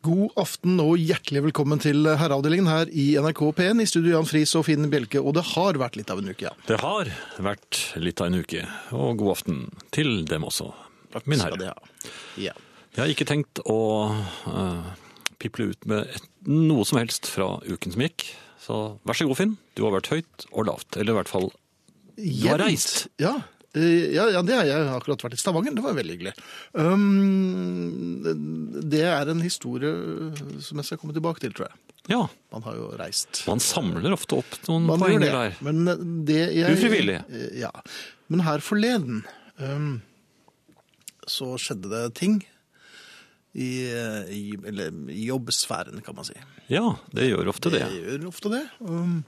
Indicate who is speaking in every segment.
Speaker 1: God aften og hjertelig velkommen til Herreavdelingen her i NRK P1. I studio Jan Friis og Finn Bjelke, og det har vært litt av en uke, ja.
Speaker 2: Det har vært litt av en uke, og god aften til dem også, min
Speaker 1: Skal
Speaker 2: herre.
Speaker 1: det ha. Ja.
Speaker 2: Jeg har ikke tenkt å eh, piple ut med et, noe som helst fra uken som gikk, så vær så god, Finn. Du har vært høyt og lavt, eller i hvert fall du har
Speaker 1: Jevnt.
Speaker 2: reist.
Speaker 1: Ja. Eh, Ja, ja, det har jeg akkurat vært i Stavanger. Det var veldig hyggelig. Um, det er en historie som jeg skal komme tilbake til, tror jeg.
Speaker 2: Ja,
Speaker 1: Man har jo reist.
Speaker 2: man samler ofte opp noen
Speaker 1: Man gjør
Speaker 2: poenger
Speaker 1: det.
Speaker 2: der.
Speaker 1: Men eh, det jeg
Speaker 2: Ufrivillig.
Speaker 1: Eh, Ja. Men her forleden ehm, så skjedde det ting i, eh, i, eller, i jobbsfæren, kan man si.
Speaker 2: Ja, det gjør ofte det.
Speaker 1: Jeg gjør ofte det. ehm,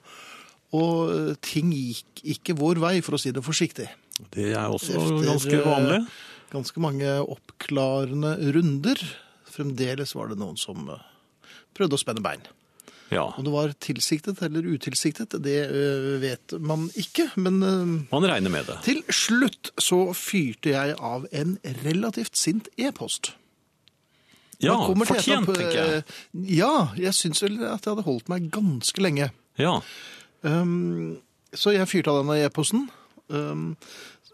Speaker 1: og eh, ting gikk ikke vår vei, for å si det forsiktig.
Speaker 2: Det er også
Speaker 1: Efter,
Speaker 2: ganske
Speaker 1: eh,
Speaker 2: vanlig.
Speaker 1: Ganske mange oppklarende runder. Fremdeles var det noen som eh, prøvde å spenne bein.
Speaker 2: Ja,
Speaker 1: Om det var tilsiktet eller utilsiktet, det ø, vet man ikke. Men ø,
Speaker 2: man regner med det.
Speaker 1: til slutt så fyrte jeg av en relativt sint e-post.
Speaker 2: Ja,
Speaker 1: Man kommer til eh, et
Speaker 2: fortjent,
Speaker 1: opp-
Speaker 2: tenker jeg.
Speaker 1: ø, Ja, jeg syns vel at jeg hadde holdt meg ganske lenge.
Speaker 2: Ja,
Speaker 1: Um, så jeg fyrte av denne e-posten. Um,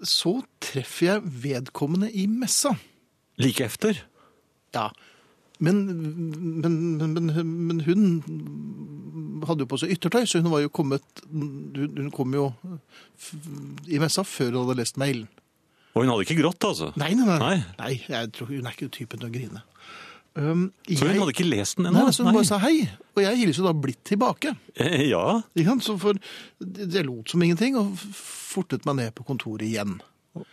Speaker 1: så treffer jeg vedkommende i messa.
Speaker 2: like efter.
Speaker 1: Ja. Men, men, men, men, men hun hadde jo på seg yttertøy, så hun var jo kommet Hun hun kom jo f- i messa før hun hadde lest mailen.
Speaker 2: Og hun hadde ikke grått, altså.
Speaker 1: Nei, nei, nei.
Speaker 2: Nei.
Speaker 1: nei jeg tror, hun er ikke typen til å grine. Um,
Speaker 2: Så hun hadde ikke lest den
Speaker 1: Nei,
Speaker 2: ennå?
Speaker 1: altså, hun bare sa hei, og jeg hilser jo da blitt tilbake.
Speaker 2: Eh, Ja,
Speaker 1: Ikke sant? Så for, jeg lot som ingenting og fortet meg ned på kontoret igjen.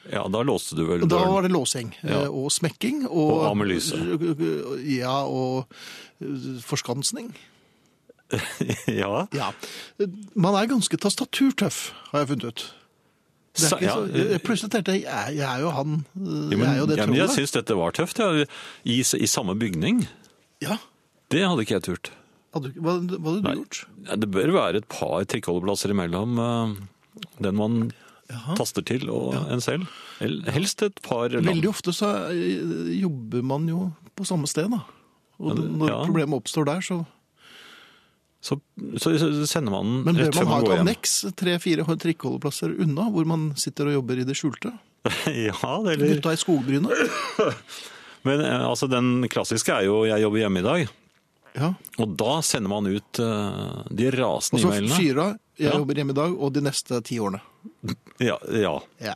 Speaker 2: Ja, da låste du vel
Speaker 1: Da
Speaker 2: døren.
Speaker 1: var det låsing
Speaker 2: Ja.
Speaker 1: eh, og smekking. Og,
Speaker 2: Og av med lyset.
Speaker 1: Ja, og eh, forskansning.
Speaker 2: ja.
Speaker 1: Ja. Man er ganske tastaturtøff, har jeg funnet ut. Det er
Speaker 2: Sa-
Speaker 1: ikke så,
Speaker 2: ja,
Speaker 1: jeg, plutselig tenkte jeg, jeg er- jeg er jo han, øh,
Speaker 2: Jo,
Speaker 1: jeg er jo det
Speaker 2: ja, men jeg
Speaker 1: trollet.
Speaker 2: syns dette var tøft. Ja. I, s- I samme bygning.
Speaker 1: Ja,
Speaker 2: Det hadde ikke jeg turt.
Speaker 1: hadde, du- hva, hva hadde du gjort?
Speaker 2: Ja, Det bør være et par trikkeholdeplasser imellom eh, den man taster til, og en selv. Eller Helst et par land.
Speaker 1: Veldig ofte så øh, jobber man jo på samme sted da. Og
Speaker 2: Ja, det-
Speaker 1: når
Speaker 2: ja.
Speaker 1: problemet oppstår der, så...
Speaker 2: Så, så så sender man
Speaker 1: Men
Speaker 2: den
Speaker 1: bør
Speaker 2: rett før
Speaker 1: man ha
Speaker 2: man
Speaker 1: et
Speaker 2: går hjem.
Speaker 1: anneks, tre-fire trikkeholdeplasser unna, hvor man sitter og jobber i det skjulte?
Speaker 2: ja, det eller
Speaker 1: Gutta i skogbrynet?
Speaker 2: Men eh, altså, den klassiske er jo 'jeg jobber hjemme i dag'.
Speaker 1: Ja.
Speaker 2: Og da sender man ut eh, de
Speaker 1: Og
Speaker 2: rasende
Speaker 1: så
Speaker 2: e-mailene.
Speaker 1: fyra, jeg
Speaker 2: Ja.
Speaker 1: jobber hjemme i dag, og de neste ti årene.
Speaker 2: Ja, ja.
Speaker 1: Ja.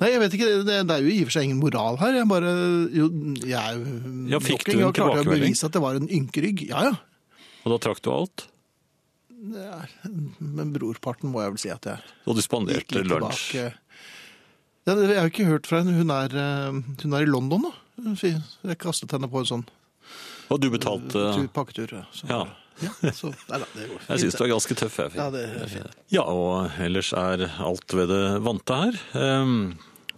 Speaker 1: Nei, jeg vet ikke, det, det er jo i og for seg ingen moral her. Jeg bare, jo, jeg,
Speaker 2: Ja, fikk
Speaker 1: nok en
Speaker 2: du en
Speaker 1: gang klarte jeg å
Speaker 2: tilbakemelding?
Speaker 1: bevise at det var en ynkerygg. Ja, ja.
Speaker 2: Og da trakk du alt.
Speaker 1: Men brorparten må jeg vel si at jeg
Speaker 2: Og du
Speaker 1: gikk
Speaker 2: spanderte
Speaker 1: litt
Speaker 2: lunsj.
Speaker 1: tilbake. Ja, det, jeg har ikke hørt fra henne. Hun er, eh, hun er i London nå. Fy, Jeg kastet henne på en sånn
Speaker 2: Og du betalte
Speaker 1: tur, pakketur. Så.
Speaker 2: eh, Ja.
Speaker 1: Ja, så, nei, da, det går fint.
Speaker 2: Jeg syns du er ganske tøff. Jeg.
Speaker 1: Ja, det er fint.
Speaker 2: Ja, og ellers er alt ved det vante her. Ehm,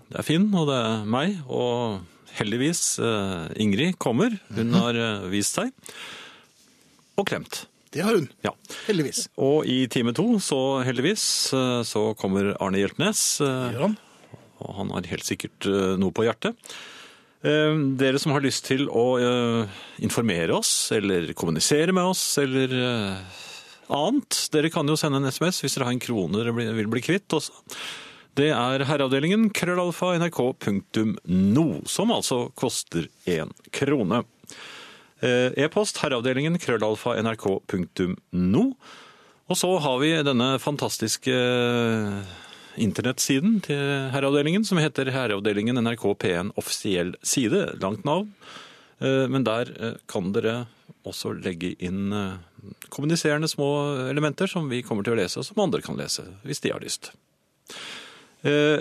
Speaker 2: Det er Finn, og det er meg, og heldigvis eh, Ingrid kommer. Hun
Speaker 1: Mhm.
Speaker 2: har eh, vist seg. Og klemt.
Speaker 1: Det har hun.
Speaker 2: Ja.
Speaker 1: Heldigvis.
Speaker 2: Og i time to, så heldigvis, eh, så kommer Arne Hjeltnes. eh,
Speaker 1: Gjør han?
Speaker 2: og han har helt sikkert eh, noe på hjertet. Eh, Dere som har lyst til å eh, informere oss, eller kommunisere med oss, eller eh, annet, dere kan jo sende en SMS hvis dere har en krone dere blir- vil bli kvitt. Også. Det er herreavdelingen krøllalfa nrk.no, som altså koster én krone. Eh, E-post herreavdelingen krøllalfa nrk.no. Og så har vi denne fantastiske eh, internettsiden til herreavdelingen, som heter herreavdelingen NRK P1 offisiell side. Langt navn. Eh, Men der eh, kan dere også legge inn eh, kommuniserende små elementer som vi kommer til å lese, og som andre kan lese, hvis de har lyst. Eh,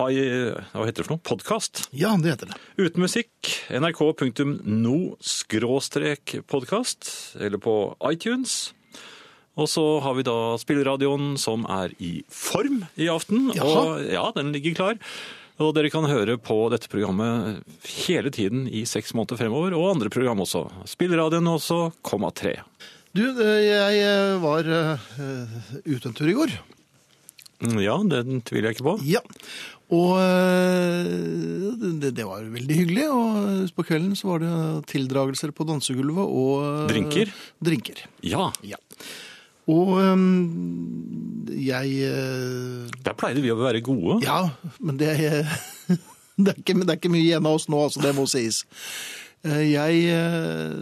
Speaker 2: ai- Hva heter det for noe? Podkast?
Speaker 1: Ja, det heter det.
Speaker 2: Uten musikk, nrk.no-podkast, eller på iTunes. Og så har vi da spilleradioen som er i form i aften.
Speaker 1: Jaha.
Speaker 2: Og ja, den ligger klar. Og dere kan høre på dette programmet hele tiden i seks måneder fremover, og andre program også. Spilleradioen også, komma tre.
Speaker 1: eh, Du, eh, jeg eh, var eh, ute en tur i går.
Speaker 2: Ja, den tviler jeg ikke på.
Speaker 1: Ja. Og eh, det, det var veldig hyggelig. Og på kvelden så var det tildragelser på dansegulvet og eh,
Speaker 2: Drinker?
Speaker 1: Drinker.
Speaker 2: Ja,
Speaker 1: Ja. Og eh, jeg eh,
Speaker 2: der pleide vi å være gode.
Speaker 1: Ja, men det er, det, er ikke, det er ikke mye igjen av oss nå, altså. Det må sies. Eh, Jeg eh,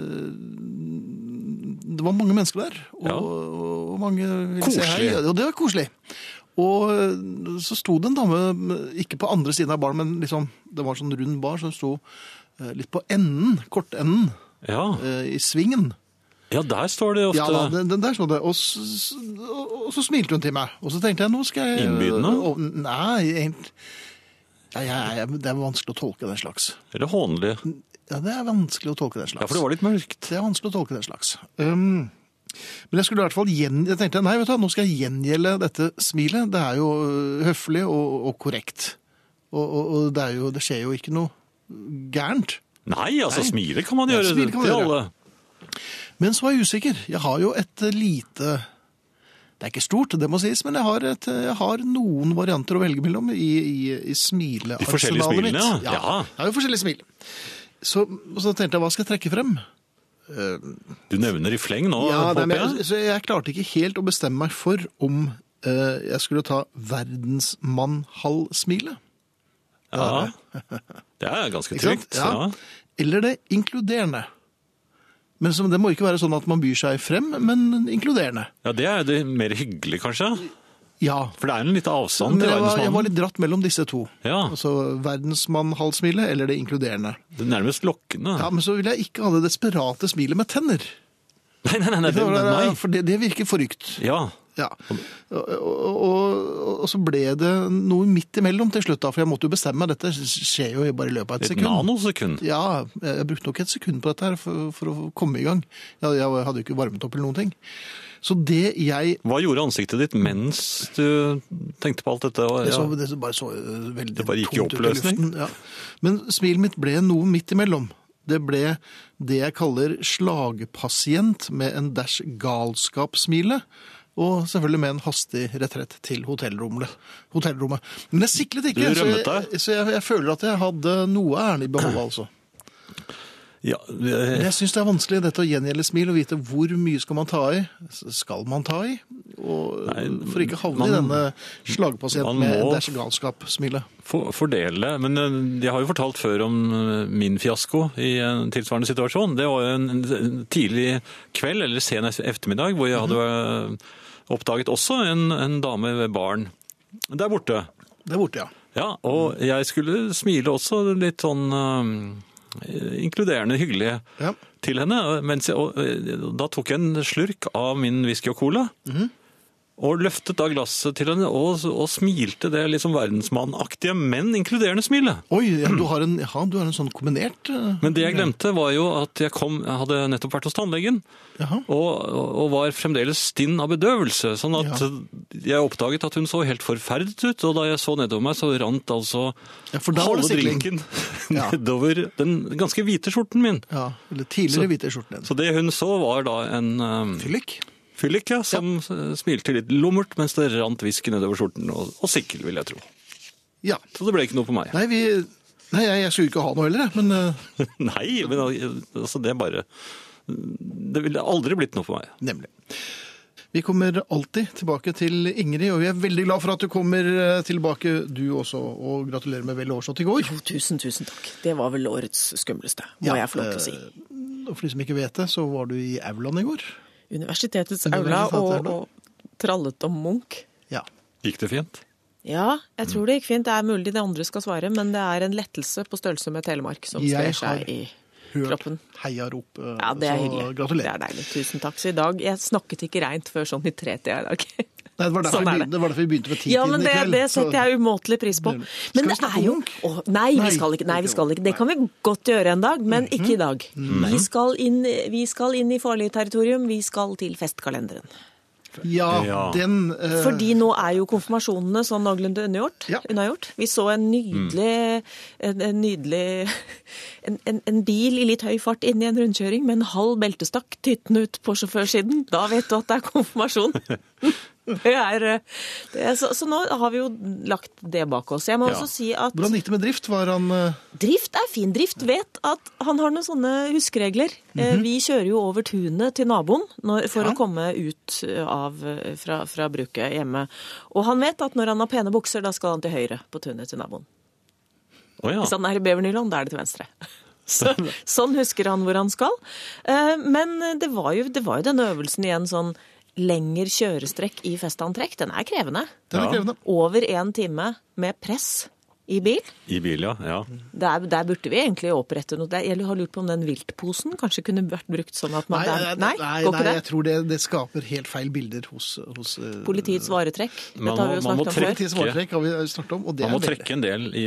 Speaker 1: Det var mange mennesker der, og,
Speaker 2: Ja.
Speaker 1: og mange ville si hei.
Speaker 2: Koselig.
Speaker 1: Og det var koselig. Og eh, så sto det en dame, eh, ikke på andre siden av baren, men liksom, det var sånn rund bar, så hun sto eh, litt på enden, kortenden,
Speaker 2: Ja,
Speaker 1: eh, i svingen.
Speaker 2: ja der står det ofte.
Speaker 1: Ja, da, den, den der så det. Og så, og, og så smilte hun til meg. Og så tenkte jeg, nå skal jeg...
Speaker 2: Innbydende?
Speaker 1: Og, nei, egentlig... Ja, jeg- jeg- det er vanskelig å tolke den slags.
Speaker 2: Eller hånlig.
Speaker 1: Ja, det er vanskelig å tolke den slags.
Speaker 2: Ja, for det var litt mørkt.
Speaker 1: Det er vanskelig å tolke den slags. Um, men jeg skulle i hvert fall gjen... Jeg tenkte, nei, vet du, hva, nå skal jeg gjengjelde dette smilet. Det er jo øh, høflig og, og korrekt. Og, og, og det, er jo, det skjer jo ikke noe gærent.
Speaker 2: Nei, altså
Speaker 1: Nei.
Speaker 2: smile kan man
Speaker 1: Ja,
Speaker 2: gjøre
Speaker 1: smile kan man
Speaker 2: til
Speaker 1: gjøre.
Speaker 2: alle.
Speaker 1: Men så er jeg usikker. Jeg har jo et eh, lite Det er ikke stort, det må sies, men jeg har, et, eh, jeg har noen varianter å velge mellom i, i, i
Speaker 2: De forskjellige
Speaker 1: smilearsenalet mitt.
Speaker 2: smilene, ja. Ja.
Speaker 1: Jeg har jo forskjellige smil. Så, og så tenkte jeg, hva skal jeg trekke frem?
Speaker 2: Du nevner i fleng nå,
Speaker 1: ja, det er
Speaker 2: håper
Speaker 1: med,
Speaker 2: jeg.
Speaker 1: så jeg klarte ikke helt å bestemme meg for om eh, jeg skulle ta verdensmannhalv-smilet.
Speaker 2: Ja. Det er ganske
Speaker 1: Ikke sant?
Speaker 2: trygt. Ja.
Speaker 1: Eller det inkluderende. Men som, Det må ikke være sånn at man byr seg frem, men inkluderende.
Speaker 2: ja, det er det mer hyggelig, kanskje.
Speaker 1: Ja,
Speaker 2: For det er en liten avstand
Speaker 1: Men
Speaker 2: til
Speaker 1: jeg var, jeg var
Speaker 2: verdensmannen.
Speaker 1: litt dratt mellom disse to.
Speaker 2: Ja,
Speaker 1: Altså verdensmann-halvsmilet eller det inkluderende.
Speaker 2: det er nærmest lokkende.
Speaker 1: Ja, Men så ville jeg ikke ha det desperate smilet med tenner. eh,
Speaker 2: Nei, nei, nei, nei, det, nei, nei.
Speaker 1: For det, det virker forrykt.
Speaker 2: Ja,
Speaker 1: Ja. Og, og, og, og så ble det noe midt imellom til slutt, da, for jeg måtte jo bestemme meg. Dette skjer jo bare i løpet av et
Speaker 2: et
Speaker 1: sekund.
Speaker 2: nanosekund.
Speaker 1: Ja, jeg brukte nok et sekund på dette her for, for å komme i gang. Jeg, jeg hadde jo ikke varmet opp eller noen ting. Så det jeg
Speaker 2: Hva gjorde ansiktet ditt mens du tenkte på alt dette? Og-
Speaker 1: Det,
Speaker 2: Ja.
Speaker 1: så, det så bare så øh, veldig
Speaker 2: Det bare gikk i
Speaker 1: tomt ut
Speaker 2: oppløsning.
Speaker 1: luften, Ja. Men smilet mitt ble noe midt imellom. Det ble det jeg kaller slagpasient med en dash galskapssmile. Og selvfølgelig med en hastig retrett til hotellrommet. hotellrommet. Men jeg siklet ikke,
Speaker 2: Du
Speaker 1: så,
Speaker 2: rømmet deg?
Speaker 1: jeg, så jeg, jeg føler at jeg hadde noe ærend i behold, altså.
Speaker 2: Ja,
Speaker 1: Men
Speaker 2: det-
Speaker 1: jeg syns det er vanskelig dette å gjengjelde smil og vite hvor mye skal man ta i. Skal man ta i? Og,
Speaker 2: Nei,
Speaker 1: for ikke å havne i
Speaker 2: man-
Speaker 1: denne slagpasient
Speaker 2: man
Speaker 1: med en
Speaker 2: må-
Speaker 1: dash galskap-smilet.
Speaker 2: for- fordele. Men eh, jeg har jo fortalt før om eh, min fiasko i en tilsvarende situasjon. Det var jo en en tidlig kveld, eller sen ettermiddag, hvor jeg hadde eh, oppdaget også en, en dame ved baren der borte.
Speaker 1: Det er borte, ja.
Speaker 2: Ja, og jeg skulle smile også litt sånn eh, inkluderende hyggelig.
Speaker 1: Ja.
Speaker 2: til henne. Mens jeg, og, eh, da tok jeg en slurk av min whisky og cola.
Speaker 1: Mhm.
Speaker 2: Og løftet da glasset til henne og, og smilte det liksom verdensmannaktige, men inkluderende smilet.
Speaker 1: Oi, ja, du, har en, ja, du har en sånn kombinert eh,
Speaker 2: Men det jeg glemte, var jo at jeg, kom, jeg hadde nettopp vært hos tannlegen.
Speaker 1: Jaha.
Speaker 2: Og, og var fremdeles stinn av bedøvelse. Sånn at jeg oppdaget at hun så helt forferdet ut. Og da jeg så nedover meg, så rant altså
Speaker 1: Ja, for da var det
Speaker 2: halve
Speaker 1: sikling.
Speaker 2: drinken
Speaker 1: Ja.
Speaker 2: nedover den ganske hvite skjorten min.
Speaker 1: Ja, eller tidligere hvite skjorten din.
Speaker 2: Så det hun så, var da en eh,
Speaker 1: Fyllik.
Speaker 2: Fyllik, ja, som eh, smilte litt lummert mens det rant whisky nedover skjorten og, og sikkel, vil jeg tro.
Speaker 1: Ja.
Speaker 2: Så det ble ikke noe på meg.
Speaker 1: Nei, vi Nei, jeg, jeg skulle ikke ha noe heller, jeg, men eh,
Speaker 2: Nei, men al- altså, det er bare Det ville aldri blitt noe på meg.
Speaker 1: Nemlig. Vi kommer alltid tilbake til Ingrid, og vi er veldig glad for at du kommer eh, tilbake, du også. Og gratulerer med vel overstått i går.
Speaker 3: Jo, tusen, tusen takk. Det var vel årets skumleste, må
Speaker 1: Ja, eh,
Speaker 3: jeg få lov til å si.
Speaker 1: Og for de som ikke vet det, så var du i aulaen i går.
Speaker 3: Universitetets aula
Speaker 1: Universitetets
Speaker 3: og,
Speaker 1: aula.
Speaker 3: og trallet om Munch.
Speaker 1: Ja.
Speaker 2: Gikk det fint?
Speaker 3: Ja, jeg tror det gikk fint. Det er mulig de andre skal svare, men det er en lettelse på størrelse med Telemark som
Speaker 1: Jeg
Speaker 3: sprer seg
Speaker 1: har
Speaker 3: i
Speaker 1: Hørt
Speaker 3: kroppen.
Speaker 1: heiarop. eh,
Speaker 3: Ja, det er
Speaker 1: så
Speaker 3: hyggelig. Det
Speaker 1: Gratulerer.
Speaker 3: er deilig. Tusen takk. Så i dag Jeg snakket ikke reint før sånn i tretida i dag.
Speaker 1: Nei, det, var derfor
Speaker 3: Sånn
Speaker 1: vi
Speaker 3: er det.
Speaker 1: begynte, det var derfor vi begynte ved titiden
Speaker 3: Ja, men
Speaker 1: i
Speaker 3: det,
Speaker 1: kveld.
Speaker 3: det
Speaker 1: så-
Speaker 3: setter jeg umåtelig pris på.
Speaker 1: Nemlig. Skal
Speaker 3: Men
Speaker 1: vi
Speaker 3: det
Speaker 1: snakke
Speaker 3: er
Speaker 1: om
Speaker 3: jo
Speaker 1: Munch?
Speaker 3: Å, nei,
Speaker 1: Nei,
Speaker 3: vi skal ikke,
Speaker 1: ikke
Speaker 3: nei,
Speaker 1: Mhm.
Speaker 3: vi skal
Speaker 1: om-
Speaker 3: ikke. Det kan vi godt gjøre en dag, men ikke i dag. Vi skal inn, vi skal inn i farlig territorium. Vi skal til festkalenderen.
Speaker 1: Ja,
Speaker 2: Ja.
Speaker 1: den eh,
Speaker 3: Fordi nå er jo konfirmasjonene sånn noenlunde unnagjort.
Speaker 1: Ja. Mm.
Speaker 3: unnagjort. Vi så en nydelig, en, en, nydelig en, en, en bil i litt høy fart inne i en rundkjøring med en halv beltestakk tyttende ut på sjåførsiden. Da vet du at det er konfirmasjon. Det er, eh, det er, så, så nå har vi jo lagt det bak oss. Jeg må
Speaker 2: Ja.
Speaker 3: også si at
Speaker 1: Hvordan gikk det med drift? Var han eh,
Speaker 3: Drift er fin. Drift vet at han har noen sånne huskeregler. Eh, Vi kjører jo over tunet til naboen når, for å komme ut eh, av, eh, fra, fra bruket hjemme. Og han vet at når han har pene bukser, da skal han til høyre på tunet til naboen.
Speaker 2: Å ja.
Speaker 3: Hvis han er i Bevernyland, da er det til venstre. Så, sånn husker han hvor han skal. Eh, Men det var jo, det var jo denne øvelsen igjen sånn lengre kjørestrekk i festantrekk. Den er krevende.
Speaker 1: Den er
Speaker 2: Ja.
Speaker 1: krevende.
Speaker 3: Over én time med press i bil.
Speaker 2: I bil, ja. ja.
Speaker 3: Der, der burde vi egentlig opprette noe. Der- Jeg har lurt på om den viltposen kanskje kunne vært brukt sånn at man der-
Speaker 1: nei,
Speaker 3: nei, går ikke
Speaker 1: jeg
Speaker 3: det?
Speaker 1: tror det, det skaper helt feil bilder hos, hos eh,
Speaker 3: Politiets varetrekk.
Speaker 2: Man
Speaker 3: Dette har vi jo
Speaker 2: må- man må
Speaker 3: snakket om
Speaker 2: trekke-
Speaker 3: før.
Speaker 1: Politiets varetrekk har vi snakket om, og det
Speaker 2: Man
Speaker 1: er
Speaker 2: må
Speaker 1: veldig
Speaker 2: trekke en del i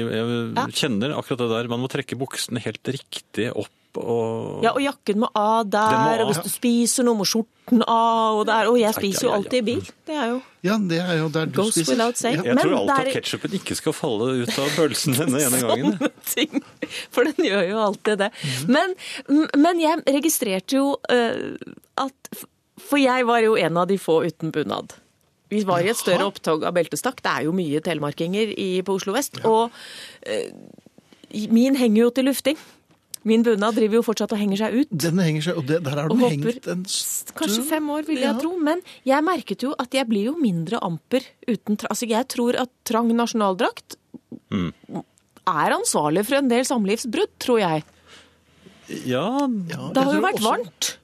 Speaker 2: Jeg kjenner akkurat det der. Man må trekke buksene helt riktig opp og
Speaker 3: Ja, og jakken må av der,
Speaker 2: Den må
Speaker 3: og hvis
Speaker 2: av.
Speaker 3: du spiser noe, må skjorten av, og der. Og jeg spiser jo
Speaker 2: ai, ai.
Speaker 3: alltid i bil. Det er jo
Speaker 1: Ja, det er jo der du
Speaker 3: Goes
Speaker 1: spiser.
Speaker 3: without saying.
Speaker 1: Ja.
Speaker 2: Jeg
Speaker 3: Men
Speaker 2: tror alltid
Speaker 3: der- Sånn.
Speaker 2: at ketsjupen ikke skal falle ut av pølsen denne ene gangen.
Speaker 3: sånne ting. For den gjør jo alltid det. Men, men jeg registrerte jo eh, at For jeg var jo en av de få uten bunad. Vi var i et større opptog av beltestakk. Det er jo mye telemarkinger i, på Oslo vest. Og eh, min henger jo til lufting. Min bunad driver jo fortsatt og henger seg ut.
Speaker 1: Den henger seg, og det, der har
Speaker 3: Og
Speaker 1: den
Speaker 3: hopper.
Speaker 1: hengt en stund.
Speaker 3: Kanskje fem år, vil jeg
Speaker 1: Ja.
Speaker 3: tro. Men jeg merket jo at jeg blir jo mindre amper uten tra Altså, jeg tror at trang nasjonaldrakt
Speaker 2: Mm.
Speaker 3: er ansvarlig for en del samlivsbrudd, tror jeg.
Speaker 2: Ja,
Speaker 1: Ja,
Speaker 3: Det
Speaker 1: jeg
Speaker 3: har jo
Speaker 1: tror
Speaker 3: vært
Speaker 1: også-
Speaker 3: varmt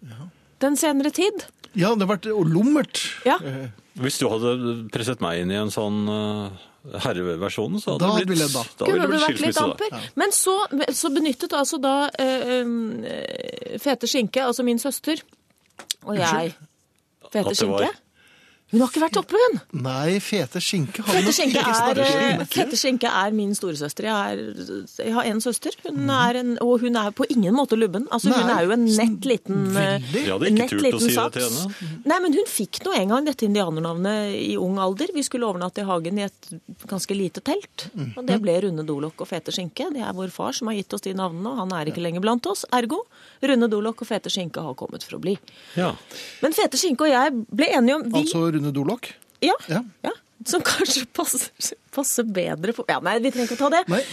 Speaker 3: den senere tid.
Speaker 1: Ja, det har vært og lummert.
Speaker 3: Ja.
Speaker 1: Eh,
Speaker 2: hvis du hadde presset meg inn i en sånn eh, herreversjon, så hadde
Speaker 1: Da
Speaker 2: det blitt,
Speaker 1: ville jeg da.
Speaker 2: da
Speaker 3: Kunne
Speaker 2: ville det
Speaker 3: du
Speaker 2: blitt
Speaker 3: vært
Speaker 2: skilsmisse,
Speaker 3: litt
Speaker 2: da.
Speaker 3: amper? Men så, så benyttet altså da eh, eh, Fete Skinke, altså min søster, og jeg Fete
Speaker 2: At det var-
Speaker 3: Skinke? Hun har ikke vært oppe, hun!
Speaker 1: Nei, fete skinke har vi
Speaker 3: Fette
Speaker 1: nok
Speaker 3: Skjenke
Speaker 1: ikke
Speaker 3: er, eh,
Speaker 1: snakket om.
Speaker 3: Fette Skjenke er min storesøster. Jeg, er, jeg har en søster, hun
Speaker 2: Mm.
Speaker 3: er en, og hun er på ingen måte lubben. Altså, hun
Speaker 1: Nei,
Speaker 3: er jo en nett liten eh,
Speaker 1: veldig.
Speaker 2: Jeg hadde ikke
Speaker 3: nett
Speaker 2: turt å
Speaker 3: liten
Speaker 2: si det til
Speaker 3: saks.
Speaker 2: henne.
Speaker 3: Nei, men hun fikk nå en gang dette indianernavnet i ung alder. Vi skulle overnatte i hagen i et ganske lite telt.
Speaker 2: Mm.
Speaker 3: Og det ble Rune Dolokk og Fete Skinke. Det er vår far som har gitt oss de navnene, og han er ikke lenger blant oss. Ergo, Rune Dolokk og Fete Skinke har kommet for å bli.
Speaker 2: Ja.
Speaker 3: Men Fete Skinke og jeg ble enige om vi
Speaker 1: Altså Rune Dolok.
Speaker 3: ja.
Speaker 1: Ja.
Speaker 3: ja. Som kanskje passer, passer bedre på Ja, nei, vi trenger ikke å ta det.
Speaker 1: Nei.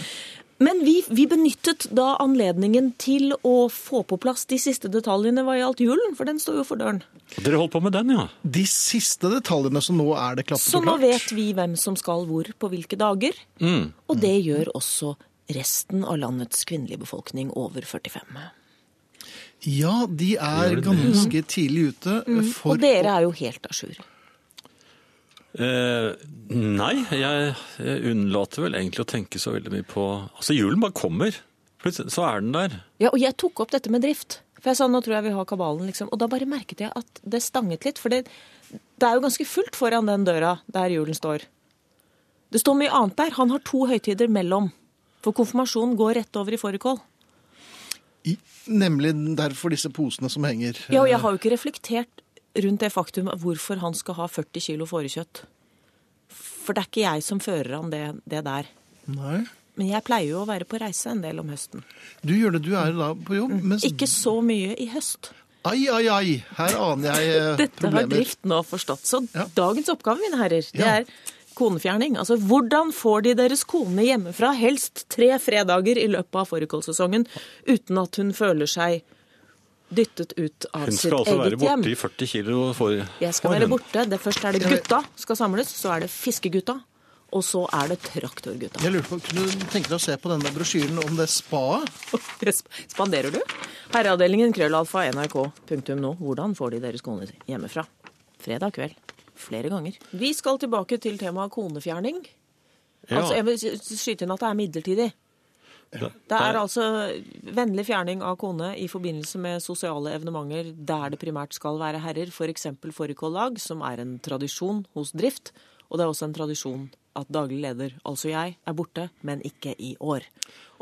Speaker 3: Men vi, vi benyttet da anledningen til å få på plass de siste detaljene hva gjaldt julen, for den står jo for døren.
Speaker 2: Og Dere holdt på med den, ja.
Speaker 1: De siste detaljene, så nå er det klappet
Speaker 3: Så
Speaker 1: og
Speaker 3: nå
Speaker 1: klart.
Speaker 3: vet vi hvem som skal hvor på hvilke dager. Og det gjør også resten av landets kvinnelige befolkning over 45.
Speaker 1: Ja, de er ganske tidlig ute for
Speaker 3: Mm. Og dere er jo helt à jour.
Speaker 2: Eh, nei, jeg, jeg unnlater vel egentlig å tenke så veldig mye på Altså, julen bare kommer. Plutselig så er den der.
Speaker 3: Ja, og jeg tok opp dette med drift. For jeg sa nå tror jeg vi har kabalen, liksom. Og da bare merket jeg at det stanget litt. For det, det er jo ganske fullt foran den døra der julen står. Det står mye annet der. Han har to høytider mellom. For konfirmasjonen går rett over i fårikål.
Speaker 1: I- Nemlig derfor disse posene som henger.
Speaker 3: Ja, og jeg har jo ikke reflektert rundt det faktum at hvorfor han skal ha 40 kilo fårekjøtt. For det er ikke jeg som fører han det, det der.
Speaker 1: Nei.
Speaker 3: Men jeg pleier jo å være på reise en del om høsten.
Speaker 1: Du gjør det, du er da på jobb, mens
Speaker 3: Mm. Ikke så mye i høst.
Speaker 1: Ai, ai, ai! Her aner jeg eh,
Speaker 3: Dette har
Speaker 1: problemer.
Speaker 3: Drift nå forstått. Så
Speaker 1: Ja.
Speaker 3: dagens oppgave, mine herrer, det
Speaker 1: Ja.
Speaker 3: er konefjerning. Altså, hvordan får de deres kone hjemmefra helst tre fredager i løpet av fårikålsesongen uten at hun føler seg dyttet ut av
Speaker 2: Hun
Speaker 3: sitt
Speaker 2: skal altså være
Speaker 3: eget hjem?
Speaker 2: borte i 40 kilo for
Speaker 3: Jeg skal
Speaker 2: for hun.
Speaker 3: være borte. Det først er det gutta skal samles, så er det fiskegutta, og så er det traktorgutta.
Speaker 1: Jeg lurer på, Kunne du tenke deg å se på denne brosjyren om det spaet?
Speaker 3: Det sp- Spanderer du? Herreavdelingen krøllalfa nrk.no. Hvordan får de deres koner hjemmefra? Fredag kveld. Flere ganger. Vi skal tilbake til temaet konefjerning.
Speaker 2: Ja.
Speaker 3: Altså, jeg vil s- skyte inn at det er midlertidig.
Speaker 2: Det-
Speaker 3: Det er altså vennlig fjerning av kone i forbindelse med sosiale evenementer der det primært skal være herrer, f.eks. fårikållag, som er en tradisjon hos drift. Og det er også en tradisjon at daglig leder, altså jeg, er borte, men ikke i år.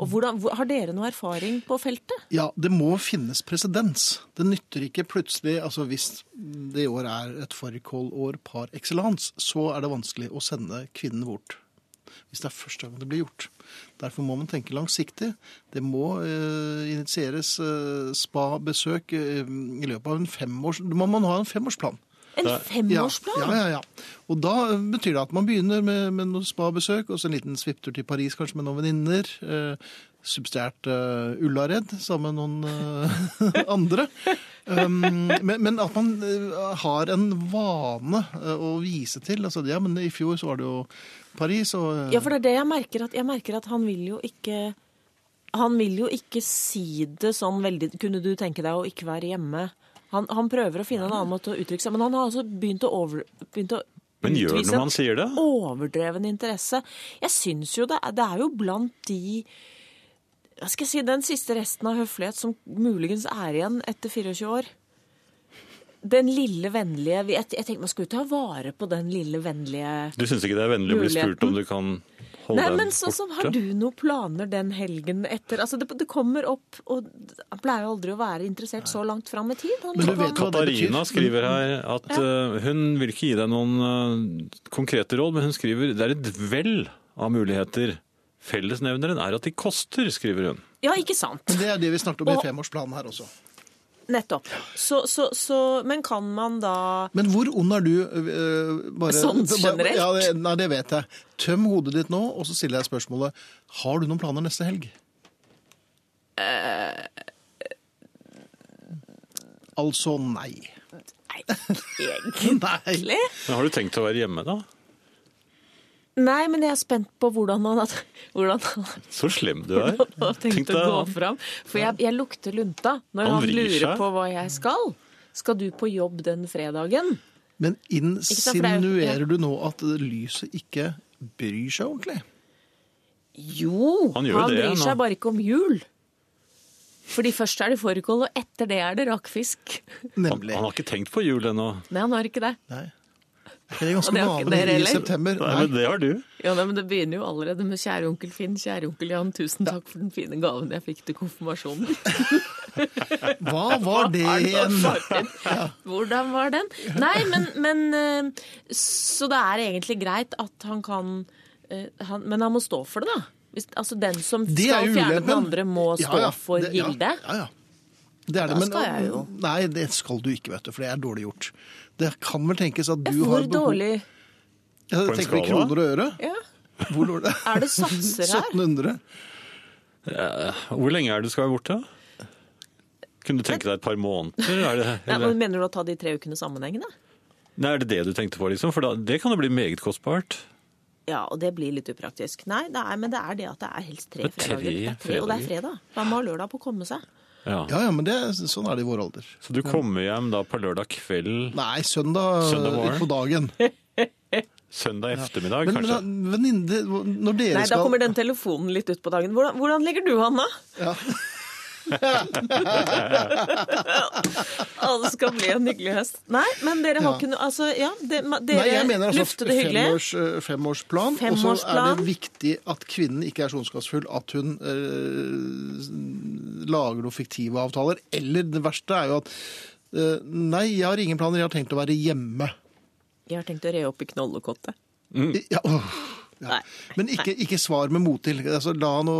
Speaker 3: Og hvordan, hvor- Har dere noe erfaring på feltet?
Speaker 1: Ja, det må finnes presedens. Det nytter ikke plutselig altså Hvis det i år er et fårikålår par excellence, så er det vanskelig å sende kvinnen bort. Hvis det er første gang det blir gjort. Derfor må man tenke langsiktig. Det må eh, initieres eh, spa-besøk eh, i løpet av en femårs... Da må man ha en femårsplan.
Speaker 3: En
Speaker 2: Da-
Speaker 3: femårsplan?
Speaker 1: Ja, ja, ja. Og da betyr det at man begynner med, med noen spabesøk, og så en liten svipptur til Paris kanskje med noen venninner. Eh, Substjært eh, Ullared sammen med noen eh, andre. Um, men, men at man eh, har en vane eh, å vise til. Altså, ja, men i fjor så var det jo Paris, og eh,
Speaker 3: Ja, for det er det jeg merker. At, jeg merker at han vil jo ikke Han vil jo ikke si det sånn veldig Kunne du tenke deg å ikke være hjemme? Han, han prøver å finne en annen måte å uttrykke seg Men han har altså begynt å, over, begynt å
Speaker 2: Men gjør det
Speaker 3: utvise
Speaker 2: når man sier det?
Speaker 3: en overdreven interesse. Jeg syns jo det, er- det er jo blant de hva skal jeg si, Den siste resten av høflighet som muligens er igjen etter 24 år. Den lille vennlige Jeg, jeg tenker Man skulle ta vare på den lille vennlige
Speaker 2: Du syns ikke det er vennlig å bli
Speaker 3: Muligheten.
Speaker 2: spurt om du kan holde
Speaker 3: Nei,
Speaker 2: den
Speaker 3: men sånn som, Har
Speaker 2: borte?
Speaker 3: du noen planer den helgen etter? Altså, det, det kommer opp, og han pleier jo aldri å være interessert så langt fram i tid. Han,
Speaker 1: Men du vet jo- hva
Speaker 3: han,
Speaker 1: det betyr?
Speaker 2: Katarina skriver her
Speaker 3: Mm.
Speaker 2: at eh, hun vil ikke gi deg noen eh, konkrete råd, men hun skriver det er et vell av muligheter. Fellesnevneren er at de koster, skriver hun.
Speaker 3: ja, ikke sant?
Speaker 1: Men eh, det er det vi snakket om i
Speaker 3: Og-
Speaker 1: femårsplanen her også.
Speaker 3: Nettopp. Så, så, så, men kan man da
Speaker 1: Men hvor ond er du? eh, bare,
Speaker 3: Sånn
Speaker 1: bare-
Speaker 3: generelt?
Speaker 1: Ja, det, nei, det vet jeg. Tøm hodet ditt nå, og så stiller jeg spørsmålet Har du noen planer neste helg?
Speaker 3: Eh.
Speaker 1: Altså nei.
Speaker 3: Nei, egentlig
Speaker 1: Nei.
Speaker 2: Men har du tenkt å være hjemme, da?
Speaker 3: Nei, men jeg er spent på hvordan han har, hvordan han
Speaker 2: Så slem du er.
Speaker 3: har tenkt
Speaker 2: Tenk
Speaker 3: å
Speaker 2: deg,
Speaker 3: gå fram. For jeg, jeg lukter lunta når
Speaker 2: Han
Speaker 3: han,
Speaker 2: vrir
Speaker 3: lurer
Speaker 2: seg.
Speaker 3: på hva jeg skal. Skal du på jobb den fredagen?
Speaker 1: Men
Speaker 3: sant, for det er jo- ja.
Speaker 1: insinuerer du nå at lyset ikke bryr seg ordentlig?
Speaker 3: Jo,
Speaker 2: Han
Speaker 3: han,
Speaker 2: gjør det,
Speaker 3: bryr
Speaker 2: han.
Speaker 3: seg bare ikke om jul. Fordi først er det fårikål, og etter det er det rakfisk.
Speaker 2: Han,
Speaker 1: Nemlig.
Speaker 2: han har ikke tenkt på jul ennå.
Speaker 3: Nei, han har ikke det.
Speaker 1: Nei. Det er ganske
Speaker 3: Og det har ikke dere
Speaker 1: vanlig i
Speaker 3: heller.
Speaker 1: september.
Speaker 2: Nei,
Speaker 1: Nei.
Speaker 2: men det har du.
Speaker 3: Ja, nei, men Det begynner jo allerede med 'kjære onkel Finn', 'kjære onkel Jan', 'tusen takk for den fine gaven jeg fikk til konfirmasjonen'.
Speaker 1: Hva var det
Speaker 3: Er det
Speaker 1: igjen?
Speaker 3: noe farlig? Hvordan var den? Nei, men, men eh, Så det er egentlig greit at han kan eh, han, Men han må stå for det, da. Hvis, altså Den som
Speaker 1: Det er
Speaker 3: skal
Speaker 1: jo
Speaker 3: fjerne den
Speaker 1: ulempen.
Speaker 3: andre, må
Speaker 1: Ja,
Speaker 3: stå
Speaker 1: ja.
Speaker 3: for
Speaker 1: Det- ja,
Speaker 3: gildet.
Speaker 1: Ja, ja. Det er det,
Speaker 3: Da
Speaker 1: men,
Speaker 3: skal jeg jo.
Speaker 1: Nei, det skal du ikke, vet du, for det er dårlig gjort. Det kan vel tenkes at du har
Speaker 3: Hvor
Speaker 1: behov
Speaker 3: dårlig
Speaker 1: Jeg
Speaker 2: På en
Speaker 1: tenker på i
Speaker 2: skala?
Speaker 1: kroner og øre.
Speaker 3: ja.
Speaker 1: Hvor dårlig?
Speaker 3: Er det satser her?
Speaker 1: 1700.
Speaker 2: Hvor lenge er det du skal være borte? Kunne du tenke deg et par måneder? Er det,
Speaker 3: Nei,
Speaker 2: eller,
Speaker 3: men Mener du å ta de tre ukene sammenhengende?
Speaker 2: nei, er det det du tenkte på, liksom? For da, det kan jo bli meget kostbart.
Speaker 3: Ja, og det blir litt upraktisk. Nei, det er, men det er det at det er helst tre
Speaker 2: Det er tre
Speaker 3: fredager. Det er tre, og det er fredag. Da må ha lørdag på å komme seg.
Speaker 2: Ja.
Speaker 1: Ja, ja, men det, sånn er det i vår alder.
Speaker 2: Så du kommer hjem da på lørdag kveld,
Speaker 1: Nei, søndag,
Speaker 2: Søndag morgen.
Speaker 1: på dagen.
Speaker 2: søndag ettermiddag,
Speaker 1: Men, men
Speaker 2: kanskje?
Speaker 1: da, venninne, når dere
Speaker 3: Nei, da
Speaker 1: skal
Speaker 3: kommer den telefonen litt ut på dagen. Hvordan, hvordan ligger du, Hanna?
Speaker 1: Ja.
Speaker 3: Å, det skal bli en hyggelig høst. Nei, men dere har
Speaker 1: Ja.
Speaker 3: ikke noe Altså, ja, det, ma- dere
Speaker 1: Nei, jeg mener altså
Speaker 3: lufter det hyggelig.
Speaker 1: femårs, eh, femårsplan, og så er
Speaker 3: Femårsplan.
Speaker 1: det viktig at kvinnen ikke er så ondskapsfull at hun eh, lager noen fiktive avtaler. Eller det verste er jo at eh, Nei, jeg har ingen planer, jeg har tenkt å være hjemme.
Speaker 3: Jeg har tenkt å re opp i knollekottet.
Speaker 1: Ja, åh. Ja.
Speaker 3: Nei.
Speaker 1: Men ikke, ikke svar med mottil. Altså, la nå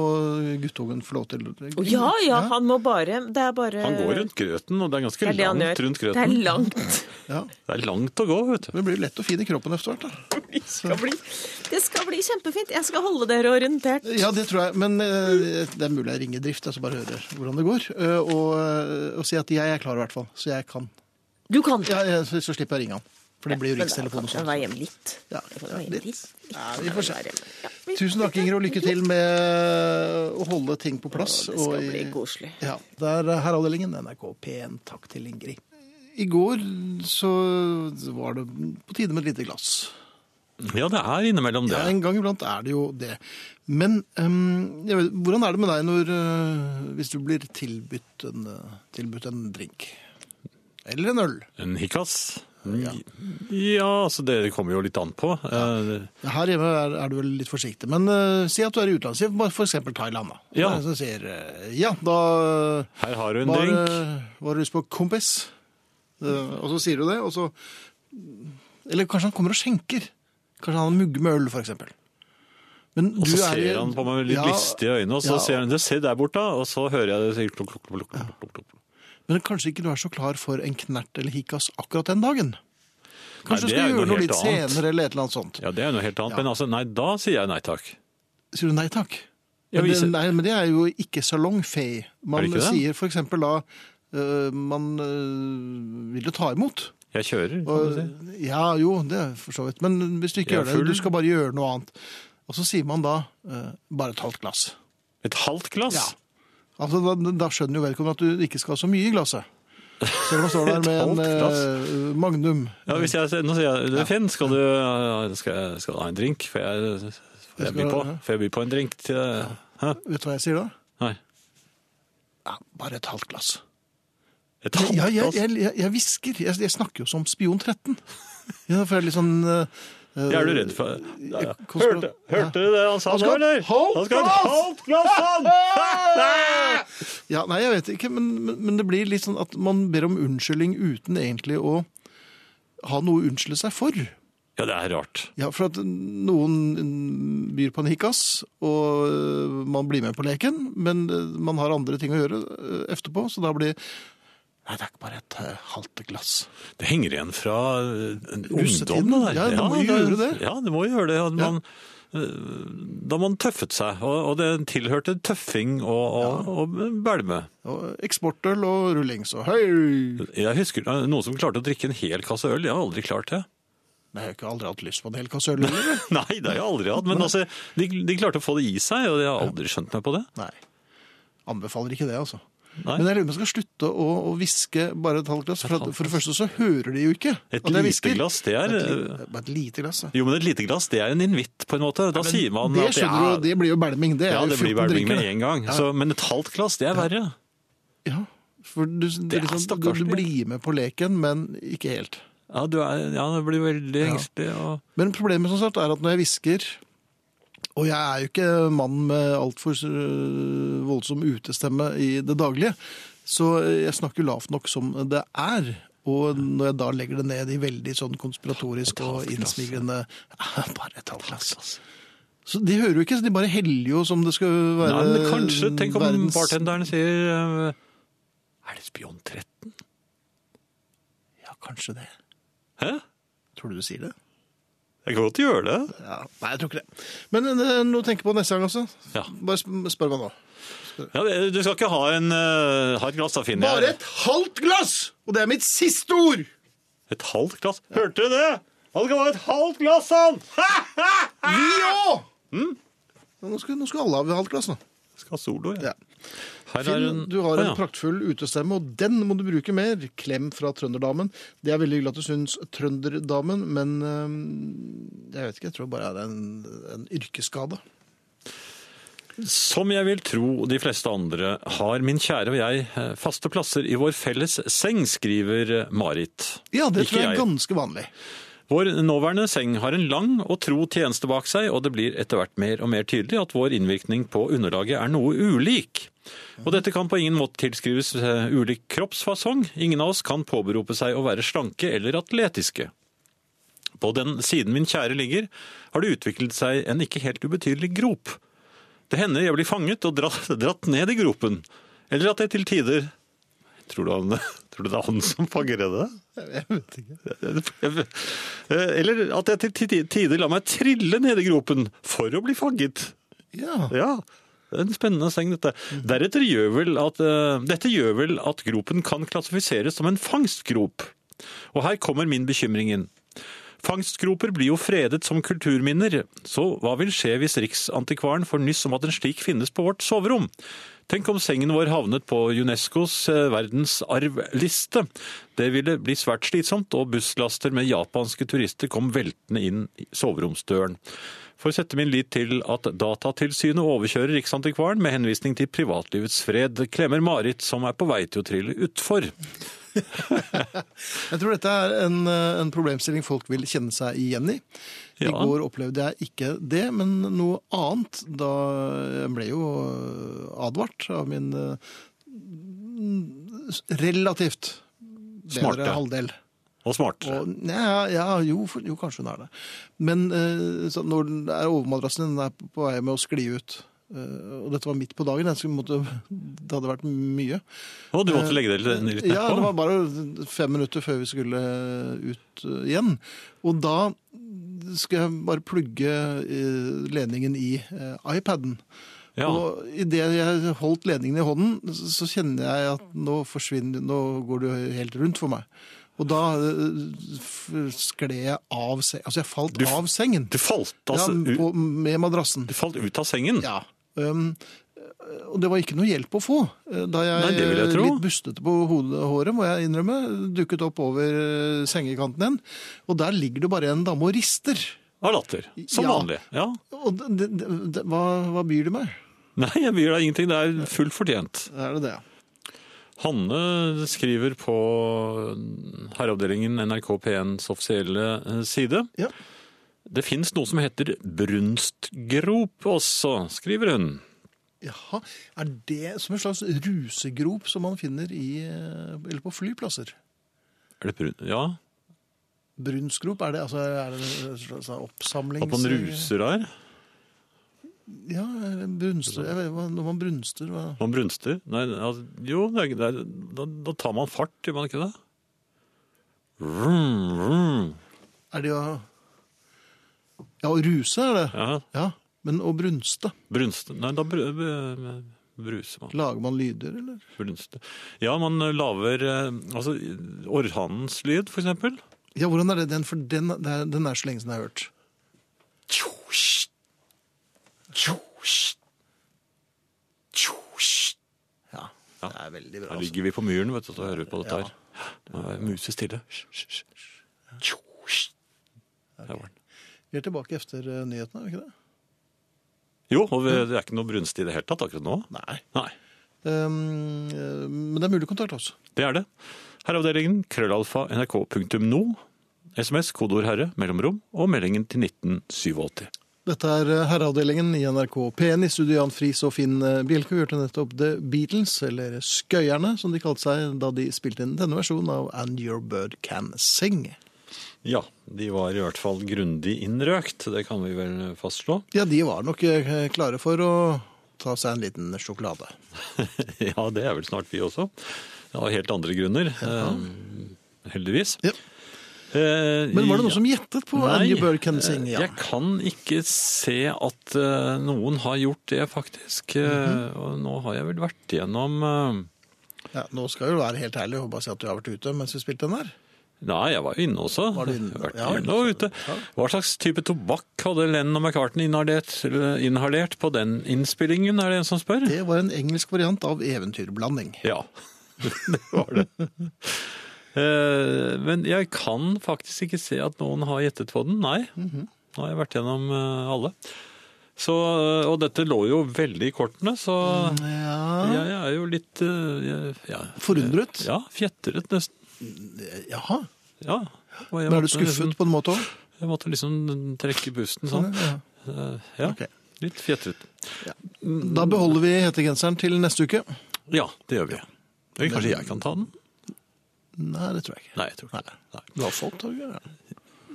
Speaker 1: guttungen få lov til
Speaker 3: Å, Ja, ja, han må bare Det er bare
Speaker 2: Han går rundt grøten, og det er ganske
Speaker 3: Det er det han
Speaker 2: langt
Speaker 3: gjør.
Speaker 2: rundt
Speaker 3: Det er
Speaker 2: grøten.
Speaker 3: langt.
Speaker 1: Ja.
Speaker 2: Det er langt å gå, vet du.
Speaker 1: Men det blir jo lett og fin i kroppen etter hvert. da.
Speaker 3: Det skal bli, det skal bli kjempefint. Jeg skal holde dere orientert.
Speaker 1: Ja, det tror jeg. Men eh, det er mulig jeg ringer drift, altså bare hører hvordan det går. eh, og, og si at jeg er klar i hvert fall, så jeg kan.
Speaker 3: Du kan
Speaker 1: Ja, ja, så, så slipper jeg å ringe han. For det blir jo
Speaker 3: Men altså, da
Speaker 1: rikstelefon
Speaker 3: kan
Speaker 1: og
Speaker 3: jeg
Speaker 1: sånn.
Speaker 3: være hjemme litt.
Speaker 1: Ja,
Speaker 3: Jeg kan være
Speaker 1: ja,
Speaker 3: hjemme
Speaker 1: litt.
Speaker 3: litt.
Speaker 1: Ja, vi får se.
Speaker 3: Ja, vi-
Speaker 1: Tusen takk, Inger, og lykke til med å holde ting på plass.
Speaker 3: Å, det skal
Speaker 1: og i-
Speaker 3: bli koselig.
Speaker 1: Ja, Det er Herreavdelingen, NRK P1. Takk til Ingrid. I går så var det på tide med et lite glass.
Speaker 2: Mm. Ja, det er innimellom det.
Speaker 1: Ja, en gang iblant er det jo det. Men ehm, jeg vet, hvordan er det med deg når, eh, hvis du blir tilbudt en, eh, tilbudt en drink? Eller en øl?
Speaker 2: En hikkas. Ja, så det kommer jo litt an på. Eh,
Speaker 1: Her hjemme er, er du vel litt forsiktig, men eh, si at du er i utlandet, si bare for eksempel Thailand. Da.
Speaker 2: Ja.
Speaker 1: Det er en som sier, eh, ja, da
Speaker 2: Her har du en
Speaker 1: var,
Speaker 2: drink.
Speaker 1: eh, var du lyst på kompis, Eh, og så sier du det, og så Eller kanskje han kommer og skjenker. Kanskje han mugger med øl, for eksempel. Men
Speaker 2: Og så
Speaker 1: du er i-
Speaker 2: ser han på meg med litt
Speaker 1: Ja,
Speaker 2: listige øyne, og så
Speaker 1: ja.
Speaker 2: sier han 'se der borte', da», og så hører jeg det sier klok, klok, klok, klok, klok, klok.
Speaker 1: Men kanskje ikke du er så klar for en knert eller hikas akkurat den dagen. Kanskje du
Speaker 2: det er
Speaker 1: skal
Speaker 2: jo
Speaker 1: gjøre
Speaker 2: noe
Speaker 1: noe litt
Speaker 2: helt annet.
Speaker 1: senere eller et eller annet sånt.
Speaker 2: Ja, det er noe helt annet. Men altså, nei, da sier jeg nei takk.
Speaker 1: Sier du nei takk?
Speaker 2: Ja,
Speaker 1: Men det,
Speaker 2: vi sier-
Speaker 1: nei, men det er jo ikke salongfei. Man
Speaker 2: Er det ikke det?
Speaker 1: sier for eksempel da øh, man øh, vil jo ta imot.
Speaker 2: Jeg kjører, kan du
Speaker 1: Og,
Speaker 2: si.
Speaker 1: ja, jo, det er for så vidt. Men hvis du ikke
Speaker 2: Jeg er
Speaker 1: gjør det,
Speaker 2: full.
Speaker 1: du skal bare gjøre noe annet. Og så sier man da øh, bare et halvt glass.
Speaker 2: Et halvt glass?
Speaker 1: Ja. Altså, da, da skjønner jo vedkommende at du ikke skal ha så mye i glasset. Selv om man står der med en
Speaker 2: halvt glass.
Speaker 1: eh, Magnum.
Speaker 2: Ja, hvis jeg, nå sier jeg, det er Finn, skal du, ja, skal, jeg- skal du ha en drink? Får jeg, får jeg,
Speaker 1: skal
Speaker 2: by,
Speaker 1: ha-
Speaker 2: på, får jeg by på en drink til Hæ?
Speaker 1: Vet du hva jeg sier da?
Speaker 2: Nei.
Speaker 1: Ja, bare et halvt glass.
Speaker 2: Et halvt
Speaker 1: Ja, jeg,
Speaker 2: glass?
Speaker 1: jeg, jeg, jeg visker. Jeg, jeg snakker jo som Spion 13. Ja, for jeg er litt sånn eh,
Speaker 2: Jeg er du redd for ja, ja.
Speaker 1: Konspira-
Speaker 2: Hørte, hørte du det han sa
Speaker 1: Han
Speaker 2: nå,
Speaker 1: skal ha
Speaker 2: eller?
Speaker 1: et halvt
Speaker 2: Han skal ha et
Speaker 1: glass!
Speaker 2: halvt glass, han!
Speaker 1: Ja, nei, jeg vet ikke, men, men, men det blir litt sånn at man ber om unnskyldning uten egentlig å ha noe å unnskylde seg for.
Speaker 2: Ja, det er rart.
Speaker 1: Ja, for at noen byr på en hikkas, og øh, man blir med på leken, men øh, man har andre ting å gjøre øh, etterpå, så da blir Nei, det er ikke bare et øh, halvt glass.
Speaker 2: Det henger igjen fra eh,
Speaker 1: Russetiden.
Speaker 2: ungdommen. der.
Speaker 1: Ja, det må jo gjøre det.
Speaker 2: Ja, det må jo gjøre det. at Man, eh, Da man tøffet seg, og, og det tilhørte tøffing og, og, og bælme.
Speaker 1: Og eksportøl og rullings og høy!
Speaker 2: Jeg husker eh, noen som klarte å drikke en hel kasse øl. Jeg har aldri klart det.
Speaker 1: Nei, jeg har ikke aldri hatt lyst på en hel kasse øl heller.
Speaker 2: Nei, det har jeg aldri hatt. Men altså, de, de klarte å få det i seg, og jeg har aldri skjønt meg på det.
Speaker 1: Nei. Anbefaler ikke det, altså.
Speaker 2: Nei.
Speaker 1: Men jeg lurer på om jeg skal slutte å, å hviske bare et halvt glass. For, at, for det første så hører de jo ikke.
Speaker 2: Et
Speaker 1: at jeg
Speaker 2: lite
Speaker 1: hvisker.
Speaker 2: glass, det er- eh,
Speaker 1: Et li- Bare et lite glass, ja.
Speaker 2: Jo, men et lite glass, det er en invitt, på en måte. Da sier man
Speaker 1: Det
Speaker 2: at
Speaker 1: skjønner du,
Speaker 2: ja,
Speaker 1: og det blir jo belming. Det er
Speaker 2: ja,
Speaker 1: jo
Speaker 2: det blir
Speaker 1: 14
Speaker 2: velming
Speaker 1: drinker.
Speaker 2: med
Speaker 1: da.
Speaker 2: en gang. Så, men et halvt glass, det er verre.
Speaker 1: Ja, for du, det
Speaker 2: Det er
Speaker 1: er liksom, du,
Speaker 2: stakkars,
Speaker 1: du
Speaker 2: det.
Speaker 1: blir med på leken, men ikke helt.
Speaker 2: Ja, du er, ja det blir veldig engstelig. Og...
Speaker 1: Men problemet som sagt er at når jeg visker, og jeg er jo ikke mann med altfor øh, voldsom utestemme i det daglige, så jeg snakker lavt nok som det er. Og når jeg da legger det ned i veldig sånn konspiratorisk og innsmigrende Bare et halvt glass. Så de hører jo ikke, så de bare heller jo som det skal være
Speaker 2: Nei, men kanskje, tenk om
Speaker 1: Eh, verdens-
Speaker 2: bartenderen sier eh, Er det spion 13?
Speaker 1: Ja, kanskje det.
Speaker 2: Hæ?
Speaker 1: Tror du du sier det?
Speaker 2: Jeg kan godt gjøre det.
Speaker 1: Ja, nei, jeg tror ikke det. Men eh, noe å tenke på neste gang også.
Speaker 2: Ja.
Speaker 1: Bare sp- spør meg nå.
Speaker 2: Ja, det- du skal ikke ha, en, eh, ha et glass, da finner
Speaker 1: Bare
Speaker 2: jeg
Speaker 1: et halvt glass! Og det er mitt siste ord!
Speaker 2: Et halvt glass? Hørte du det? Han skal ha et halvt glass, han!
Speaker 1: Vi òg! Nå, skal- nå skal alle ha et halvt glass nå.
Speaker 2: Skal ha solo,
Speaker 1: Ja.
Speaker 2: ja. Her er
Speaker 1: Finn,
Speaker 2: en-
Speaker 1: du har
Speaker 2: Å,
Speaker 1: en
Speaker 2: ja.
Speaker 1: praktfull utestemme, og den må du bruke mer. Klem fra Trønderdamen. Det er veldig hyggelig at du syns Trønderdamen, men eh, jeg vet ikke, jeg tror bare det er en, en yrkesskade.
Speaker 2: Som jeg vil tro de fleste andre, har min kjære og jeg eh, faste plasser i vår felles seng, skriver eh, Marit.
Speaker 1: Ja, det
Speaker 2: Ikke
Speaker 1: tror jeg
Speaker 2: jeg.
Speaker 1: er ganske vanlig.
Speaker 2: Vår nåværende seng har en lang og tro tjeneste bak seg, og det blir etter hvert mer og mer tydelig at vår innvirkning på underlaget er noe ulik. Og dette kan på ingen måte tilskrives eh, ulik kroppsfasong. Ingen av oss kan påberope seg å være slanke eller atletiske. På den siden min kjære ligger, har det utviklet seg en ikke helt ubetydelig grop. Det hender jeg blir fanget og dratt, dratt ned i gropen. Eller at jeg til tider Tror du, han, tror du det er han som fanger henne?
Speaker 1: Jeg vet ikke.
Speaker 2: Eller at jeg til ti- tider lar meg trille ned i gropen for å bli fanget.
Speaker 1: Ja.
Speaker 2: Ja, det er en spennende seng dette. Deretter gjør vel at, eh, dette gjør vel at gropen kan klassifiseres som en fangstgrop. Og her kommer min bekymring inn. Fangstgroper blir jo fredet som kulturminner, så hva vil skje hvis Riksantikvaren får nyss om at en slik finnes på vårt soverom? Tenk om sengen vår havnet på UNESCOs eh, verdensarvliste. Det ville bli svært slitsomt, og busslaster med japanske turister kom veltende inn i soveromsdøren. For å sette min lit til at Datatilsynet overkjører Riksantikvaren med henvisning til privatlivets fred, klemmer Marit, som er på vei til å trille utfor.
Speaker 1: Jeg tror dette er en, eh, en problemstilling folk vil kjenne seg igjen i. I
Speaker 2: Ja.
Speaker 1: går opplevde jeg ikke det, men noe annet. Da jeg ble jo eh, advart av min eh, relativt
Speaker 2: Smarte.
Speaker 1: bedre halvdel.
Speaker 2: Og smartere.
Speaker 1: Og, ja, ja jo, for, jo, kanskje hun er det. Men eh, så når den er overmadrassen, den er på vei med å skli ut. Eh, Og dette var midt på dagen, jeg skulle måtte, det hadde vært mye.
Speaker 2: Og du måtte legge deg litt litt
Speaker 1: Ja, det
Speaker 2: nedpå.
Speaker 1: var bare fem minutter før vi skulle ut eh, igjen. Og da skal jeg bare plugge eh, ledningen i eh, iPaden.
Speaker 2: Ja.
Speaker 1: Og idet jeg holdt ledningen i hånden, så så kjenner jeg at nå forsvinner, nå går du helt rundt for meg. Og da eh, f- skled jeg av sengen. Altså, jeg falt
Speaker 2: Du f-
Speaker 1: av sengen.
Speaker 2: Du falt, altså,
Speaker 1: ja,
Speaker 2: ut,
Speaker 1: på, med madrassen.
Speaker 2: du falt ut av sengen.
Speaker 1: Ja. Um, og det var ikke noe hjelp å få. Eh, Da jeg,
Speaker 2: Nei, det vil jeg tro.
Speaker 1: litt bustete på hodet, håret, må jeg innrømme, dukket opp over eh, sengekanten igjen. Og der ligger det bare en dame og rister.
Speaker 2: Av latter. Som
Speaker 1: Ja.
Speaker 2: vanlig. Ja.
Speaker 1: Og det, det, det, hva, hva byr de meg?
Speaker 2: Nei, jeg byr deg ingenting. Det er fullt fortjent.
Speaker 1: Er det det?
Speaker 2: Hanne skriver på herreavdelingen NRK P1s offisielle eh, side.
Speaker 1: Ja.
Speaker 2: Det fins noe som heter brunstgrop også, skriver hun.
Speaker 1: Jaha. Er det som en slags rusegrop som man finner i, eh, eller på flyplasser?
Speaker 2: Er det brun... Ja,
Speaker 1: Brunsgrop, er det, altså, er det en slags oppsamlings...
Speaker 2: at man ruser der.
Speaker 1: Ja, brunster. Jeg vet, hva- når man brunster, hva...
Speaker 2: Man brunster. Nei, altså, jo, det er, det er, da, da tar man fart, gjør man ikke det? Vroom, vroom.
Speaker 1: Er det å Ja, å ruse er det.
Speaker 2: Ja,
Speaker 1: Ja. Men å brunste
Speaker 2: brunste. Nei, da br br- bruser man.
Speaker 1: Lager man lyder, eller?
Speaker 2: Brunste. Ja, man laver eh, altså, orrhannens lyd, for eksempel.
Speaker 1: Ja, hvordan er det den? For den, det er- den er så lenge siden jeg har hørt.
Speaker 2: Tjosj. Tjosj. Tjosj.
Speaker 1: Ja.
Speaker 2: Ja.
Speaker 1: Det er veldig bra.
Speaker 2: Her
Speaker 1: Altså.
Speaker 2: ligger vi på myren, vet du, så hører vi på dette her. Nå er muse stille. Hysj, hysj, hysj. Tjosj. Der var den.
Speaker 1: Vi er tilbake etter eh, nyhetene, er vi ikke det?
Speaker 2: Jo, og vi- det er ikke noe brunst i det hele tatt akkurat nå.
Speaker 1: Nei.
Speaker 2: Mm. Nei,
Speaker 1: Um, eh, men det er mulig å kontakte oss.
Speaker 2: det er det. Herreavdelingen, krøllalfa, nrk.no. SMS, kodeord herre, mellomrom, og meldingen til 1987.
Speaker 1: Dette er eh, Herreavdelingen i NRK P1 i studio Jan Friis og Finn eh, Bjelke. Vi hørte nettopp The Beatles, eller Skøyerne, som de kalte seg da de spilte inn denne versjonen av And Your Bird Can Sing.
Speaker 2: Ja, de var i hvert fall grundig innrøkt, det kan vi vel fastslå.
Speaker 1: Ja, de var nok eh, klare for å ta seg en liten sjokolade.
Speaker 2: ja, det er vel snart vi også. Av helt andre grunner, eh, heldigvis.
Speaker 1: Ja.
Speaker 2: Eh,
Speaker 1: Men var det
Speaker 2: ja.
Speaker 1: noen som gjettet på
Speaker 2: Nei, eh,
Speaker 1: Angie Bird Can Sing?
Speaker 2: Jeg kan ikke se at eh, noen har gjort det, faktisk. Eh,
Speaker 1: Mhm.
Speaker 2: Og nå har jeg vel vært igjennom eh,
Speaker 1: Ja, nå skal vi jo være helt ærlig og bare si at du har vært ute mens vi spilte den her.
Speaker 2: Nei, jeg var jo inne også.
Speaker 1: Var du inne?
Speaker 2: Jeg har Vært
Speaker 1: Ja,
Speaker 2: inne og ute. Hva slags type tobakk hadde Lennon og McCartney inhalert, eller inhalert på den innspillingen, er det en som spør?
Speaker 1: Det var en engelsk variant av eventyrblanding.
Speaker 2: Ja, det var det. Eh, Men jeg kan faktisk ikke se at noen har gjettet på den, nei.
Speaker 1: Mhm.
Speaker 2: Nå har jeg vært gjennom eh, alle. Så, eh, og dette lå jo veldig i kortene, så
Speaker 1: Ja,
Speaker 2: jeg er jo litt eh, jeg- ja,
Speaker 1: Forundret?
Speaker 2: Ja, fjetret nesten.
Speaker 1: Jaha.
Speaker 2: Ja. og jeg
Speaker 1: Men er
Speaker 2: måtte
Speaker 1: du skuffet
Speaker 2: Liksom,
Speaker 1: på en måte òg?
Speaker 2: jeg måtte liksom trekke pusten sånn. Eh, Ja,
Speaker 1: Ok.
Speaker 2: litt fjetret.
Speaker 1: Da beholder vi hettegenseren til neste uke.
Speaker 2: Ja, det gjør vi. Eller Kanskje jeg kan ta den?
Speaker 1: Nei, det tror jeg ikke.
Speaker 2: Nei, jeg tror ikke det. Nei.
Speaker 1: Du har fått tak i den?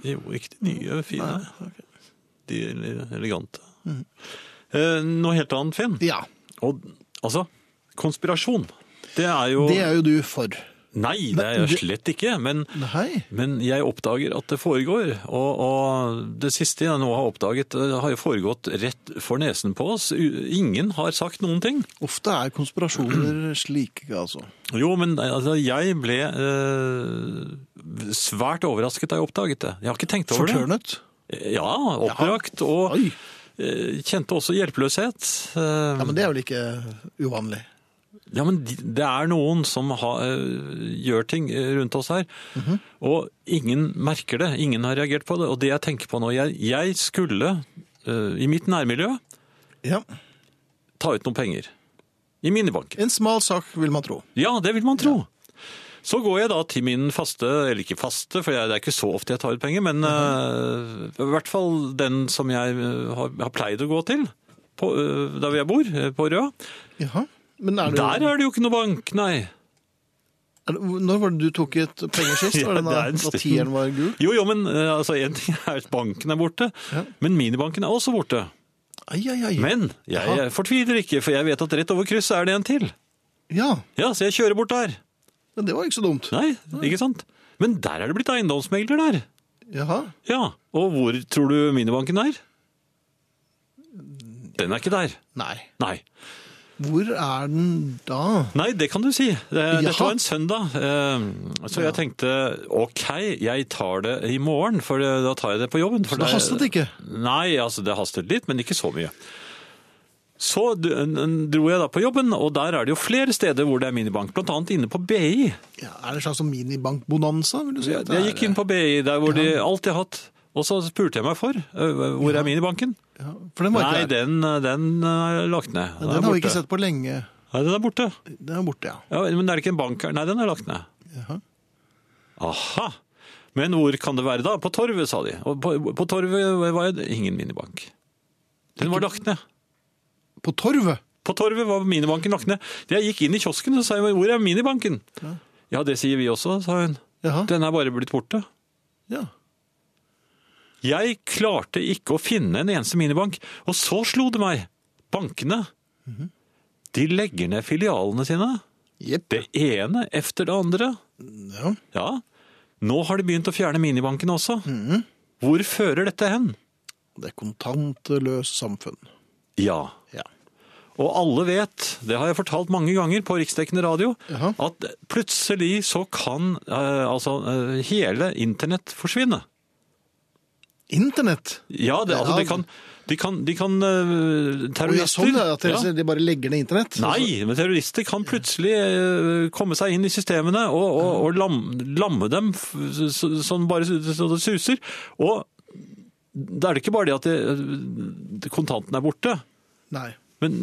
Speaker 2: Jo, ikke de nye, fine.
Speaker 1: Nei, ok.
Speaker 2: De ele- elegante. Eh, noe helt annet, Finn.
Speaker 1: Ja.
Speaker 2: Og, altså, konspirasjon. Det er jo
Speaker 1: Det er jo du for.
Speaker 2: Nei, det er jeg
Speaker 1: det-
Speaker 2: slett ikke. Men,
Speaker 1: Nei.
Speaker 2: men jeg oppdager at det foregår. Og, og det siste jeg nå har oppdaget, eh, har jo foregått rett for nesen på oss. U- Ingen har sagt noen ting.
Speaker 1: Ofte er konspirasjoner slike, altså.
Speaker 2: Jo, men altså, jeg ble eh, svært overrasket da jeg oppdaget det. Jeg har ikke tenkt over det.
Speaker 1: Fortørnet.
Speaker 2: Ja, oppbrakt. Og
Speaker 1: Oi.
Speaker 2: eh, kjente også hjelpeløshet. Eh,
Speaker 1: Ja, men det er vel ikke uvanlig.
Speaker 2: Ja, men de- det er noen som har, øh, gjør ting øh, rundt oss her,
Speaker 1: Mhm.
Speaker 2: og ingen merker det, ingen har reagert på det. Og det jeg tenker på nå, jeg, jeg skulle øh, i mitt nærmiljø
Speaker 1: Ja.
Speaker 2: ta ut noen penger. I minibanken.
Speaker 1: En smal sak, vil man tro.
Speaker 2: Ja, det vil man tro. Så går jeg da til min faste, eller ikke faste, for jeg, det er ikke så ofte jeg tar ut penger, men øh, i hvert fall den som jeg øh, har, har pleid å gå til, på, øh, der hvor jeg bor, øh, på Røa.
Speaker 1: Jaha. Men er det,
Speaker 2: Der er det jo ikke noe bank, nei.
Speaker 1: er det, når var det du tok ut penger sist?
Speaker 2: Ja,
Speaker 1: Var det
Speaker 2: det er en
Speaker 1: da,
Speaker 2: stund.
Speaker 1: da tieren var gul?
Speaker 2: Jo, jo, men eh, altså, en ting er at banken er borte, men minibanken er også borte.
Speaker 1: Ai, ai, ai.
Speaker 2: Men jeg,
Speaker 1: Jaha.
Speaker 2: jeg fortviler ikke, for jeg vet at rett over krysset er det en til.
Speaker 1: Ja,
Speaker 2: Ja, så jeg kjører bort der.
Speaker 1: men det var ikke så dumt.
Speaker 2: Nei, ikke sant? Men der er det blitt eiendomsmegler der.
Speaker 1: Jaha.
Speaker 2: Ja, og hvor tror du minibanken er? Den er ikke der.
Speaker 1: Nei.
Speaker 2: Nei.
Speaker 1: Hvor er den da?
Speaker 2: Nei, det kan du si. Det, dette var en søndag, eh, så jeg
Speaker 1: Ja.
Speaker 2: tenkte ok, jeg tar det i morgen, for eh, da tar jeg det på jobben. For
Speaker 1: Det hastet ikke.
Speaker 2: Nei, altså det hastet litt, men ikke så mye. Så d- n- n- dro jeg da på jobben, og der er det jo flere steder hvor det er minibank, blant annet inne på BI.
Speaker 1: Ja, er det en slags sånn minibankbonanza, vil du si? at det
Speaker 2: Jeg gikk
Speaker 1: er?
Speaker 2: inn på BI, der hvor de alltid har hatt, og så spurte jeg meg for, eh, hvor er minibanken?
Speaker 1: Ja, for den var
Speaker 2: Nei,
Speaker 1: ikke der.
Speaker 2: den, den er lagt ned.
Speaker 1: Den, har vi
Speaker 2: borte.
Speaker 1: ikke sett på lenge.
Speaker 2: Nei, den er borte.
Speaker 1: Den er borte, ja.
Speaker 2: Ja, men er det ikke en bank her? Nei, den er lagt ned.
Speaker 1: Jaha.
Speaker 2: Aha! Men hvor kan det være da? På Torvet, sa de. Og på, på Torvet var det ingen minibank. Den var lagt ned.
Speaker 1: På torvet?
Speaker 2: På Torvet var minibanken lagt ned. Jeg gikk inn i kiosken og sa jeg, hvor er minibanken? Ja. det sier vi også, sa hun.
Speaker 1: Jaha.
Speaker 2: Den er bare blitt borte.
Speaker 1: Ja.
Speaker 2: Jeg klarte ikke å finne en eneste minibank. Og så slo det meg. Bankene. De legger ned filialene sine.
Speaker 1: Jepp.
Speaker 2: Det ene efter det andre.
Speaker 1: Ja.
Speaker 2: Ja, nå har de begynt å fjerne minibankene også. Hvor fører dette hen?
Speaker 1: Det er kontantløst samfunn.
Speaker 2: Ja,
Speaker 1: Ja.
Speaker 2: og alle vet, det har jeg fortalt mange ganger på riksdekkende radio,
Speaker 1: Jaha.
Speaker 2: at plutselig så kan eh, altså, eh, hele internett forsvinne.
Speaker 1: Internett?
Speaker 2: Ja, det, altså,
Speaker 1: Ja.
Speaker 2: de kan, de kan, de kan eh,
Speaker 1: Å, ja,
Speaker 2: terrorister...
Speaker 1: sånn ja, at dere
Speaker 2: Ja.
Speaker 1: ser- de bare legger ned internett?
Speaker 2: Nei,
Speaker 1: altså-
Speaker 2: men terrorister kan plutselig eh, komme seg inn i systemene og, og, og lam, lamme dem f- så, sånn bare så så det suser. Og da er det ikke bare det at det, kontanten er borte,
Speaker 1: Nei.
Speaker 2: men,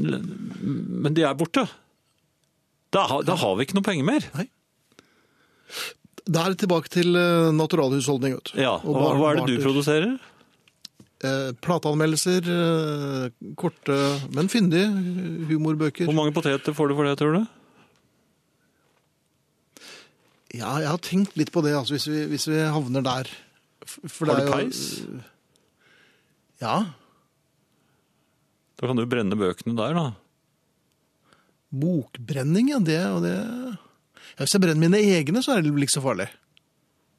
Speaker 2: men de er borte. Da, ha- da har vi ikke noe penger mer.
Speaker 1: Da er det tilbake til eh, naturalhusholdning. vet du.
Speaker 2: Ja,
Speaker 1: Og
Speaker 2: og
Speaker 1: bar-
Speaker 2: Hva er det du
Speaker 1: barter.
Speaker 2: produserer?
Speaker 1: Eh, plateanmeldelser, eh, korte, men fyndige humorbøker.
Speaker 2: Hvor mange poteter får du for det, tror du?
Speaker 1: Ja, jeg har tenkt litt på det, altså, hvis vi, hvis vi havner der. F- for
Speaker 2: Har
Speaker 1: det er
Speaker 2: du
Speaker 1: jo-
Speaker 2: peis?
Speaker 1: Ja.
Speaker 2: Da kan du brenne bøkene der, da.
Speaker 1: Bokbrenning, ja. Det, og det... Ja, hvis jeg brenner mine egne, så er det vel ikke så farlig.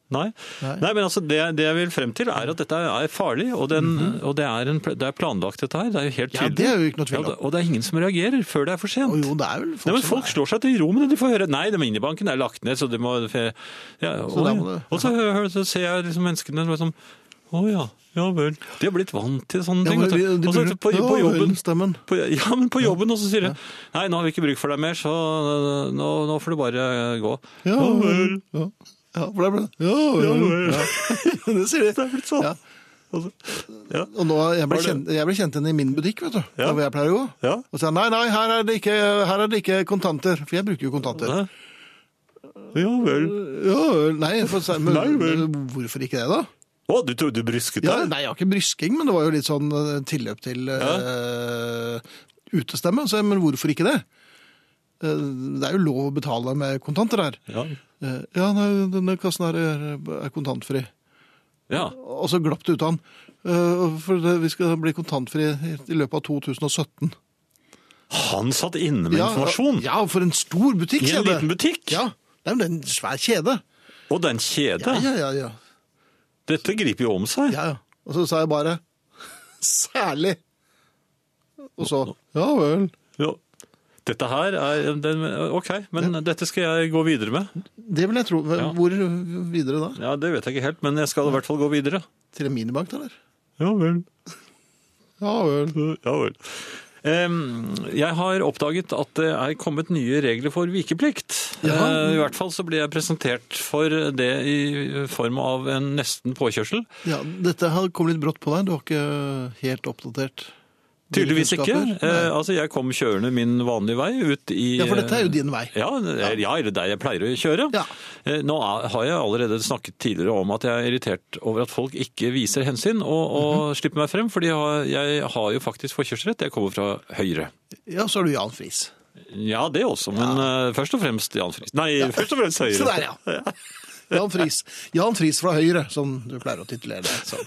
Speaker 2: Nei.
Speaker 1: Nei.
Speaker 2: Nei, men altså, det, det jeg vil frem til er at dette er farlig, og, den, og det, er en, pl- det er planlagt dette her. Det er jo helt
Speaker 1: Mhm. Ja,
Speaker 2: tydelig.
Speaker 1: det er jo ikke noe tvil om.
Speaker 2: Ja, det- og det er ingen som reagerer før det er for sent.
Speaker 1: Å jo, det er vel folk,
Speaker 2: Nei, men
Speaker 1: som
Speaker 2: Folk
Speaker 1: er-
Speaker 2: slår seg til ro med det. De får høre nei, den minibanken er lagt ned, så de må fe- ja,
Speaker 1: Så der
Speaker 2: oi.
Speaker 1: må det-
Speaker 2: Og så, hø- hø- så ser jeg liksom menneskene liksom Å ja, ja vel. De har blitt vant til sånne
Speaker 1: Ja,
Speaker 2: ting.
Speaker 1: men
Speaker 2: vet du.
Speaker 1: vi- de
Speaker 2: Og så
Speaker 1: burde-
Speaker 2: på,
Speaker 1: Ja,
Speaker 2: på jobben
Speaker 1: Stemmen.
Speaker 2: på, ja, men på jobben, og så sier jeg nei, nå har vi ikke bruk for deg mer, så øh, nå, nå får du bare øh, gå.
Speaker 1: Ja,
Speaker 2: vel.
Speaker 1: vel. Ja, ja for det ble det. Ja, vel. Ja. det sier de.
Speaker 2: Det er blitt sånn.
Speaker 1: Ja.
Speaker 2: Og så- Ja.
Speaker 1: Og nå, jeg ble,
Speaker 2: Var det-
Speaker 1: kjent, jeg ble kjent igjen i min butikk, vet du.
Speaker 2: Ja.
Speaker 1: Der hvor jeg pleier å gå.
Speaker 2: Ja.
Speaker 1: Og så sa jeg, nei, nei, her er, det ikke, her er det ikke kontanter. For jeg bruker jo kontanter.
Speaker 2: Hæ? Ja vel.
Speaker 1: Ja, nei, for, så- men,
Speaker 2: Nei, vel.
Speaker 1: hvorfor ikke det, da?
Speaker 2: Å, du trodde du brysket
Speaker 1: Ja,
Speaker 2: deg?
Speaker 1: nei, jeg har ikke brysking, men det var jo litt sånn eh, tilløp til eh, utestemme. Så, jeg, men hvorfor ikke det? Eh, Det er jo lov å betale med kontanter her.
Speaker 2: Ja.
Speaker 1: Eh, Ja, nei, denne kassen her er er kontantfri.
Speaker 2: ja.
Speaker 1: Og så glapp det ut av han. Eh, For det, vi skal bli kontantfri i i løpet av 2017.
Speaker 2: Han satt inne med
Speaker 1: Ja,
Speaker 2: informasjon
Speaker 1: Ja, for en stor butikk,
Speaker 2: i en
Speaker 1: kjede.
Speaker 2: liten butikk!
Speaker 1: Ja, det er jo en svær kjede.
Speaker 2: Og det er en kjede.
Speaker 1: Ja, ja, ja, ja.
Speaker 2: Dette griper jo om seg.
Speaker 1: ja, ja. Og så sa jeg bare, særlig. Og så, ja vel.
Speaker 2: Ja. Dette her er den, Ok, men dette skal jeg gå videre med.
Speaker 1: Det vil jeg tro. Hva-
Speaker 2: Ja.
Speaker 1: Hvor videre da?
Speaker 2: Ja, Det vet jeg ikke helt, men jeg skal i hvert fall gå videre.
Speaker 1: Til en minibank, eller?
Speaker 2: Ja vel.
Speaker 1: Ja vel.
Speaker 2: Ja vel. Em, Jeg har oppdaget at det er kommet nye regler for vikeplikt.
Speaker 1: Ja.
Speaker 2: Eh, I hvert fall så ble jeg presentert for det i form av en nesten påkjørsel.
Speaker 1: Ja, dette her kom litt brått på deg. Du var ikke helt oppdatert.
Speaker 2: Tydeligvis ikke.
Speaker 1: Kunnskaper? Nei.
Speaker 2: Eh, Altså, jeg kom kjørende min vanlige vei ut i
Speaker 1: Ja, for dette er jo din vei.
Speaker 2: Ja, eller- ja, eller der jeg pleier å kjøre.
Speaker 1: Ja.
Speaker 2: Eh, Nå er- har jeg allerede snakket tidligere om at jeg er irritert over at folk ikke viser hensyn og, og
Speaker 1: Mhm.
Speaker 2: slipper meg frem, fordi jeg har, jeg har jo faktisk forkjørsrett. Jeg kommer fra Høyre.
Speaker 1: Ja, så er du Jan Friis.
Speaker 2: Ja, det også, men eh, først og fremst Jan Friis. Nei, først og fremst Høyre.
Speaker 1: Så der, ja. Jan Friis. Jan Friis fra Høyre, som du pleier å titulere deg som.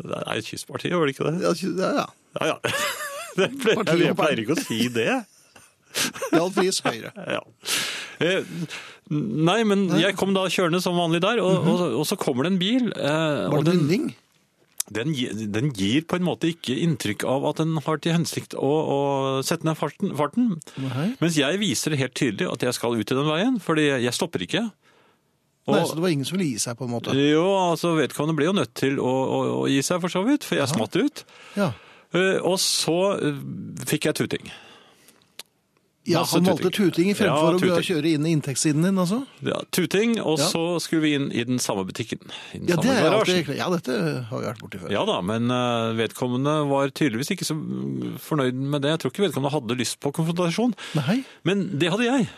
Speaker 2: Det er et kystparti, var det ikke det?
Speaker 1: Ja, ja. ja.
Speaker 2: Ja, ja. Det pleier,
Speaker 1: Partiet
Speaker 2: jeg
Speaker 1: på
Speaker 2: pleier ikke å si det.
Speaker 1: Jarl Friis Høyre.
Speaker 2: Ja. Eh, Nei, men jeg kom da kjørende som vanlig der, og, og, og så kommer det en bil. eh,
Speaker 1: Mhm. Var
Speaker 2: og
Speaker 1: det
Speaker 2: den,
Speaker 1: Munning?
Speaker 2: den, gi- den gir på en måte ikke inntrykk av at den har til hensikt å, å sette ned farten, farten.
Speaker 1: Nei.
Speaker 2: Mens jeg viser helt tydelig at jeg skal ut i den veien, fordi jeg stopper ikke. Og,
Speaker 1: Nei, så det var ingen som ville gi seg, på en måte.
Speaker 2: jo, altså vedkommende ble jo nødt til å, å, å gi seg for så vidt, for jeg smatt ut.
Speaker 1: Ja,
Speaker 2: Eh, Og så eh, fikk jeg tuting.
Speaker 1: ja
Speaker 2: Masse
Speaker 1: Han valgte
Speaker 2: tuting.
Speaker 1: tuting i fremfor
Speaker 2: Ja,
Speaker 1: å
Speaker 2: tuting.
Speaker 1: kjøre inn i inntektssiden din, altså?
Speaker 2: Ja, tuting, og
Speaker 1: Ja.
Speaker 2: så skulle vi inn i den samme butikken. I den
Speaker 1: Ja, det
Speaker 2: samme
Speaker 1: er jeg
Speaker 2: garasjen.
Speaker 1: alltid, ja dette har vi vært borti før.
Speaker 2: Ja da, men eh, vedkommende var tydeligvis ikke så mm, fornøyd med det. Jeg tror ikke vedkommende hadde lyst på konfrontasjon.
Speaker 1: Nei?
Speaker 2: Men det hadde jeg,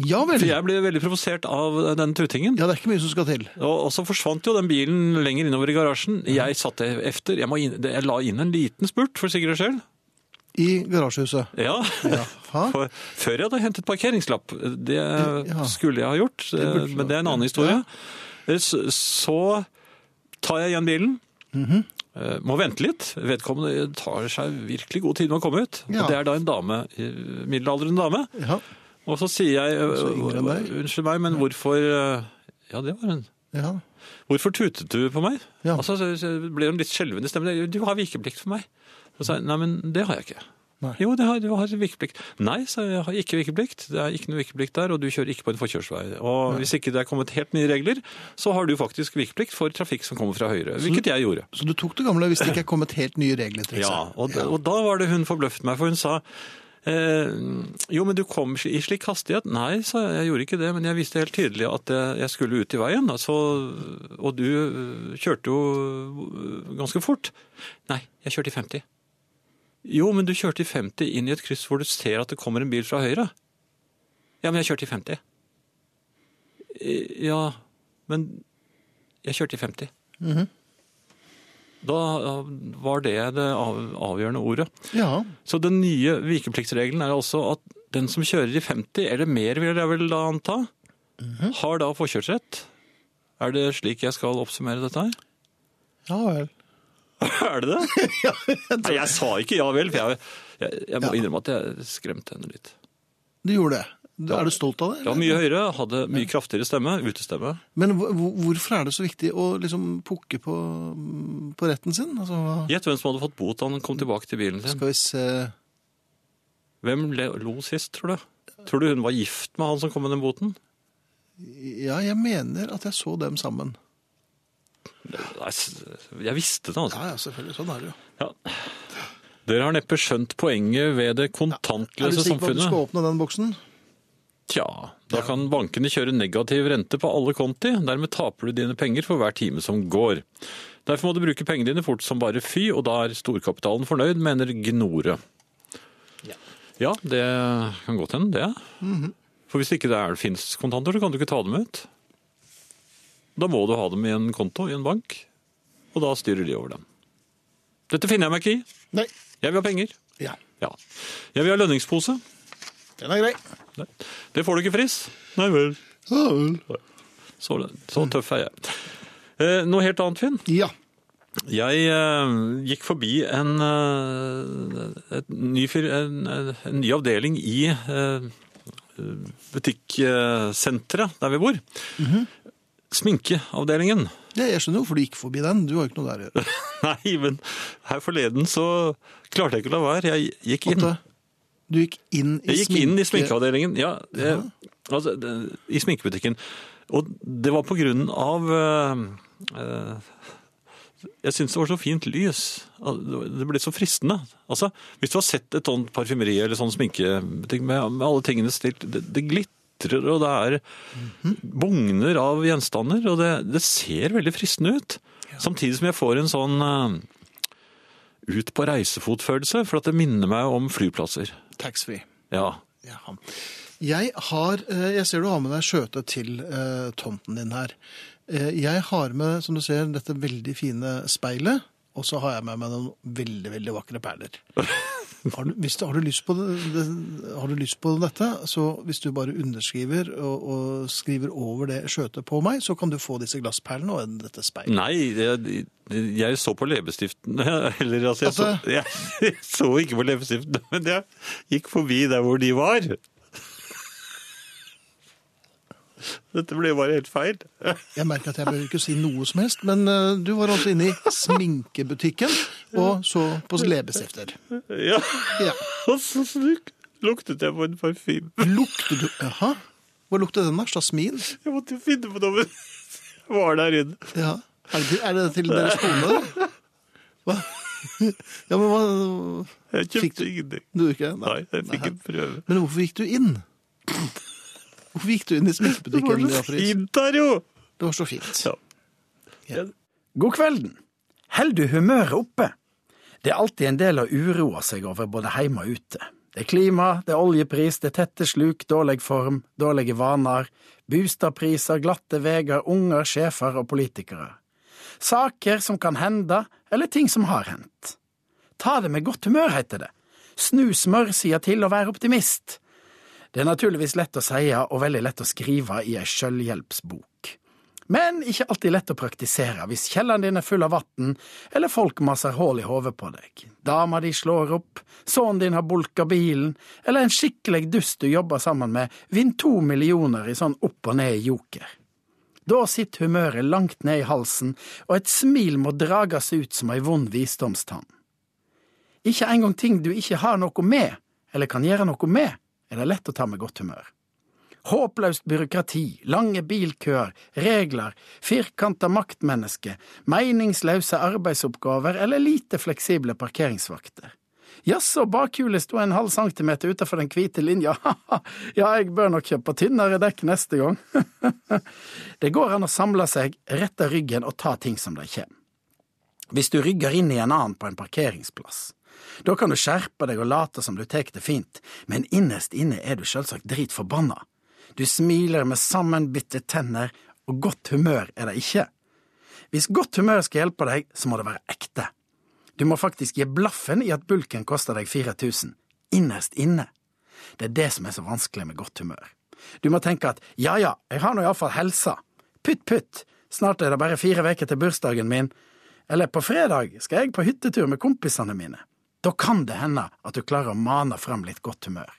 Speaker 1: Ja vel!
Speaker 2: for jeg ble veldig provosert av eh, den tutingen.
Speaker 1: Ja, det er ikke mye som skal til.
Speaker 2: Og, og så forsvant jo den bilen lenger innover i garasjen. Jeg satt efter, jeg, må inn, jeg la inn en liten spurt for sikkerhets skyld.
Speaker 1: I garasjehuset.
Speaker 2: Ja,
Speaker 1: Jaha.
Speaker 2: for, før jeg hadde hentet parkeringslapp. Det
Speaker 1: Ja.
Speaker 2: skulle jeg ha gjort, eh,
Speaker 1: burde du
Speaker 2: men det er en annen historie. Så, så tar jeg igjen bilen.
Speaker 1: Mhm.
Speaker 2: Eh, Må vente litt. Vedkommende tar seg virkelig god tid med å komme ut.
Speaker 1: Ja.
Speaker 2: Og det er da en dame, eh, middelaldrende dame.
Speaker 1: Ja.
Speaker 2: Og så sier jeg
Speaker 1: Så yngre enn deg.
Speaker 2: eh, Unnskyld meg, men hvorfor eh, Ja, det var hun.
Speaker 1: ja.
Speaker 2: Hvorfor tutet du på meg?
Speaker 1: Ja.
Speaker 2: Og så så ble hun litt skjelven i stemmen. Du har vikeplikt for meg. Så sa jeg, nei, men det har jeg ikke.
Speaker 1: Nei.
Speaker 2: Jo, det har, du har vikeplikt. Nei, sa jeg, jeg har ikke vikeplikt. Det er ikke noe vikeplikt der, og du kjører ikke på en forkjørsvei. Og hvis ikke det er kommet helt nye regler, så har du faktisk vikeplikt for trafikk som kommer fra høyre, hvilket jeg gjorde.
Speaker 1: Så du tok det gamle hvis det ikke er kommet helt nye regler til
Speaker 2: Ja, og, og da var det hun forbløffet meg, for hun sa Eh, jo, men du kom i slik hastighet. Nei, sa jeg, jeg gjorde ikke det, men jeg visste helt tydelig at jeg, jeg skulle ut i veien. Altså, og du eh, kjørte jo eh, ganske fort. Nei, jeg kjørte i 50. Jo, men du kjørte i 50 inn i et kryss hvor du ser at det kommer en bil fra høyre. Ja, men jeg kjørte i 50. Eh, Ja, men jeg kjørte i 50. Da eh, var det det av- avgjørende ordet.
Speaker 1: ja.
Speaker 2: Så den nye vikepliktsregelen er altså at den som kjører i 50, eller mer vil jeg vel da anta,
Speaker 1: Mhm.
Speaker 2: har da forkjørsrett. Er det slik jeg skal oppsummere dette her?
Speaker 1: Ja vel.
Speaker 2: Er det det? Nei, jeg sa ikke ja vel, for jeg, jeg, jeg må innrømme at jeg skremte henne litt.
Speaker 1: Du gjorde det. Er du stolt av det?
Speaker 2: Jeg var mye høyere, hadde mye kraftigere stemme, utestemme.
Speaker 1: Men hvor- hvor- hvorfor er det så viktig å liksom pukke på, på retten sin? Altså, hva-
Speaker 2: Gjett hvem som hadde fått bot da han kom tilbake til bilen sin.
Speaker 1: skal vi se
Speaker 2: Hvem le- lo sist, tror du? Tror du hun var gift med han som kom med den boten?
Speaker 1: Ja, jeg mener at jeg så dem sammen.
Speaker 2: Nei, s- jeg visste det, altså.
Speaker 1: Ja, ja, selvfølgelig. Sånn er det jo.
Speaker 2: Ja. Dere har neppe skjønt poenget ved det
Speaker 1: Er du
Speaker 2: kontantløse
Speaker 1: sikker på at du skal
Speaker 2: samfunnet.
Speaker 1: åpne den boksen?
Speaker 2: Tja, da kan bankene kjøre negativ rente på alle konti. Dermed taper du dine penger for hver time som går. Derfor må du bruke pengene dine fort som bare fy, og da er storkapitalen fornøyd, mener Gnore. Ja, det kan godt hende, det. For hvis ikke det er, finnes kontanter, så kan du ikke ta dem ut. Da må du ha dem i en konto i en bank, og da styrer de over dem. Dette finner jeg meg ikke i.
Speaker 1: Nei.
Speaker 2: Jeg vil ha penger.
Speaker 1: Ja,
Speaker 2: Ja. Jeg vil ha lønningspose.
Speaker 1: den er grei.
Speaker 2: Nei. Det får du ikke, Friis. Nei vel.
Speaker 1: Ja vel.
Speaker 2: Så, så tøff er jeg. Eh, noe helt annet, Finn.
Speaker 1: Ja.
Speaker 2: Jeg eh, gikk forbi en, eh, et ny, fir- en, en, en ny avdeling i eh, butikksenteret der vi bor. Sminkeavdelingen.
Speaker 1: Ja, Jeg skjønner hvorfor du gikk forbi den. Du har jo ikke noe der å gjøre.
Speaker 2: Nei, men her forleden så klarte jeg ikke å la være. Jeg gikk inn.
Speaker 1: Åtte. Du gikk inn i
Speaker 2: Jeg gikk inn i sminkeavdelingen, ja, eh, altså, det- i sminkebutikken. Og det var på grunn av eh, eh, Jeg syns det var så fint lys. Al- Det ble så fristende. Altså, hvis du har sett et sånt parfymeri eller sånn sminkebutikk med, med alle tingene stilt Det, det glitrer, og det er bugner av gjenstander, og det, det ser veldig fristende ut. Samtidig som jeg får en sånn eh, ut på reisefot-følelse, for at det minner meg om flyplasser.
Speaker 1: Taxfree.
Speaker 2: Ja,
Speaker 1: Jaha. Jeg har eh, Jeg ser du har med deg skjøte til eh, tomten din her. Eh, Jeg har med, som du ser, dette veldig fine speilet. Og så har jeg med meg noen veldig, veldig vakre perler. Har du, hvis du, har, du lyst på det, det, har du lyst på dette, så hvis du bare underskriver og, og skriver over det skjøtet på meg, så kan du få disse glassperlene og en- dette speilet.
Speaker 2: Nei, jeg, jeg så på leppestiften Eller altså, jeg, så,
Speaker 1: Altså-
Speaker 2: jeg, så ikke på leppestiften, men jeg gikk forbi der hvor de var. Dette ble bare helt feil.
Speaker 1: Jeg merker at jeg behøver ikke si noe som helst, men eh, du var altså inne i sminkebutikken og så på leppestifter.
Speaker 2: Ja,
Speaker 1: Ja.
Speaker 2: og så snuk, luktet jeg på en parfyme.
Speaker 1: Lukter du Jaha? Hva lukter den da? Jasmin?
Speaker 2: Jeg måtte jo finne på noe, men jeg var der inne.
Speaker 1: Ja. Er det, er det til deres kone? da? Hva? Ja, men hva
Speaker 2: Jeg
Speaker 1: Fikk
Speaker 2: kjøpte
Speaker 1: du-
Speaker 2: ingenting.
Speaker 1: Du ikke?
Speaker 2: Nei, jeg fikk en prøve.
Speaker 1: Men hvorfor gikk du inn? Hvorfor gikk du inn i
Speaker 2: Det var
Speaker 1: sminkebutikken?
Speaker 2: så
Speaker 1: Japris?
Speaker 2: fint her, jo!
Speaker 1: Det var så fint.
Speaker 2: Ja.
Speaker 4: God kvelden. Held du humøret oppe? Det er alltid en del å uroe seg over både heime og ute. Det er klima, det er oljepris, det er tette sluk, dårlig form, dårlige vaner, bostadpriser, glatte veier, unger, sjefer og politikere. Saker som kan hende, eller ting som har hendt. Ta det med godt humør, heter det. Snu smørsida til og vær optimist. Det er naturligvis lett å seie og veldig lett å skrive i ei sjølvhjelpsbok. Men ikke alltid lett å praktisere hvis kjelleren din er full av vann, eller folk maser hull i hodet på deg. Dama di slår opp, sønnen din har bulka bilen, eller en skikkelig dust du jobber sammen med, vinn to millioner i sånn opp og ned joker. Da sitter humøret langt ned i halsen, og et smil må drages ut som ei vond visdomstann. Ikke engang ting du ikke har noe med, eller kan gjøre noe med, er det lett å ta med godt humør. Håpløst byråkrati, lange bilkøer, regler, firkanta maktmennesker, meningsløse arbeidsoppgaver eller lite fleksible parkeringsvakter. Jaså, bakhjulet sto en halv centimeter utenfor den hvite linja, ha-ha, ja, jeg bør nok kjøpe tynnere dekk neste gang. det går an å samle seg, rette ryggen og ta ting som de kommer. Hvis du rygger inn i en annen på en parkeringsplass. Da kan du skjerpe deg og late som du tek det fint, men innerst inne er du selvsagt dritforbanna. Du smiler med sammenbitte tenner, og godt humør er det ikke. Hvis godt humør skal hjelpe deg, så må det være ekte. Du må faktisk gi blaffen i at bulken koster deg 4000, innerst inne. Det er det som er så vanskelig med godt humør. Du må tenke at ja ja, jeg har nå iallfall helsa. Putt putt, snart er det bare fire uker til bursdagen min. Eller på fredag skal jeg på hyttetur med kompisene mine. Da kan det hende at du klarer å mane fram litt godt humør.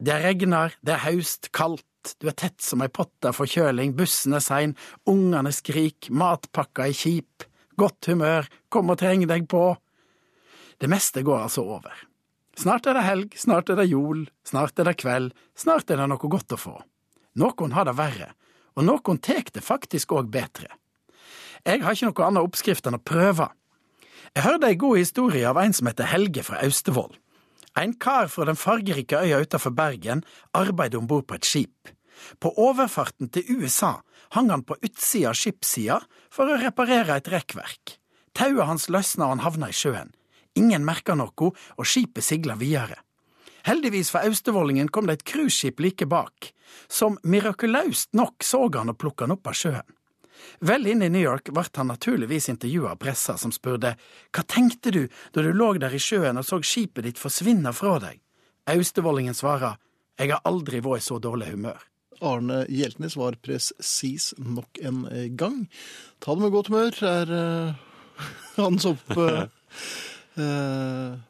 Speaker 4: Det regner, det er haust, kaldt, du er tett som ei potte av forkjøling, bussen er sein, ungene skrik, matpakka er kjip, godt humør, kom og treng deg på. Det meste går altså over. Snart er det helg, snart er det jol, snart er det kveld, snart er det noe godt å få. Noen har det verre, og noen tek det faktisk òg bedre. Jeg har ikke noe annet oppskrift enn å prøve. Jeg hørte ei god historie av en som heter Helge fra Austevoll. En kar fra den fargerike øya utenfor Bergen arbeider om bord på et skip. På overfarten til USA hang han på utsida av skipssida for å reparere et rekkverk. Tauet hans løsna og han havna i sjøen. Ingen merka noe, og skipet sigla videre. Heldigvis for austevollingen kom det et cruiseskip like bak, som mirakuløst nok så han og plukka han opp av sjøen. Vel inne i New York ble han naturligvis intervjua av pressa, som spurte hva tenkte du da du lå der i sjøen og så skipet ditt forsvinne fra deg? Austevollingen svarer jeg har aldri vært i så dårlig humør.
Speaker 1: Arne Hjeltnes var presis nok en gang. Ta det med godt humør, er eh, hans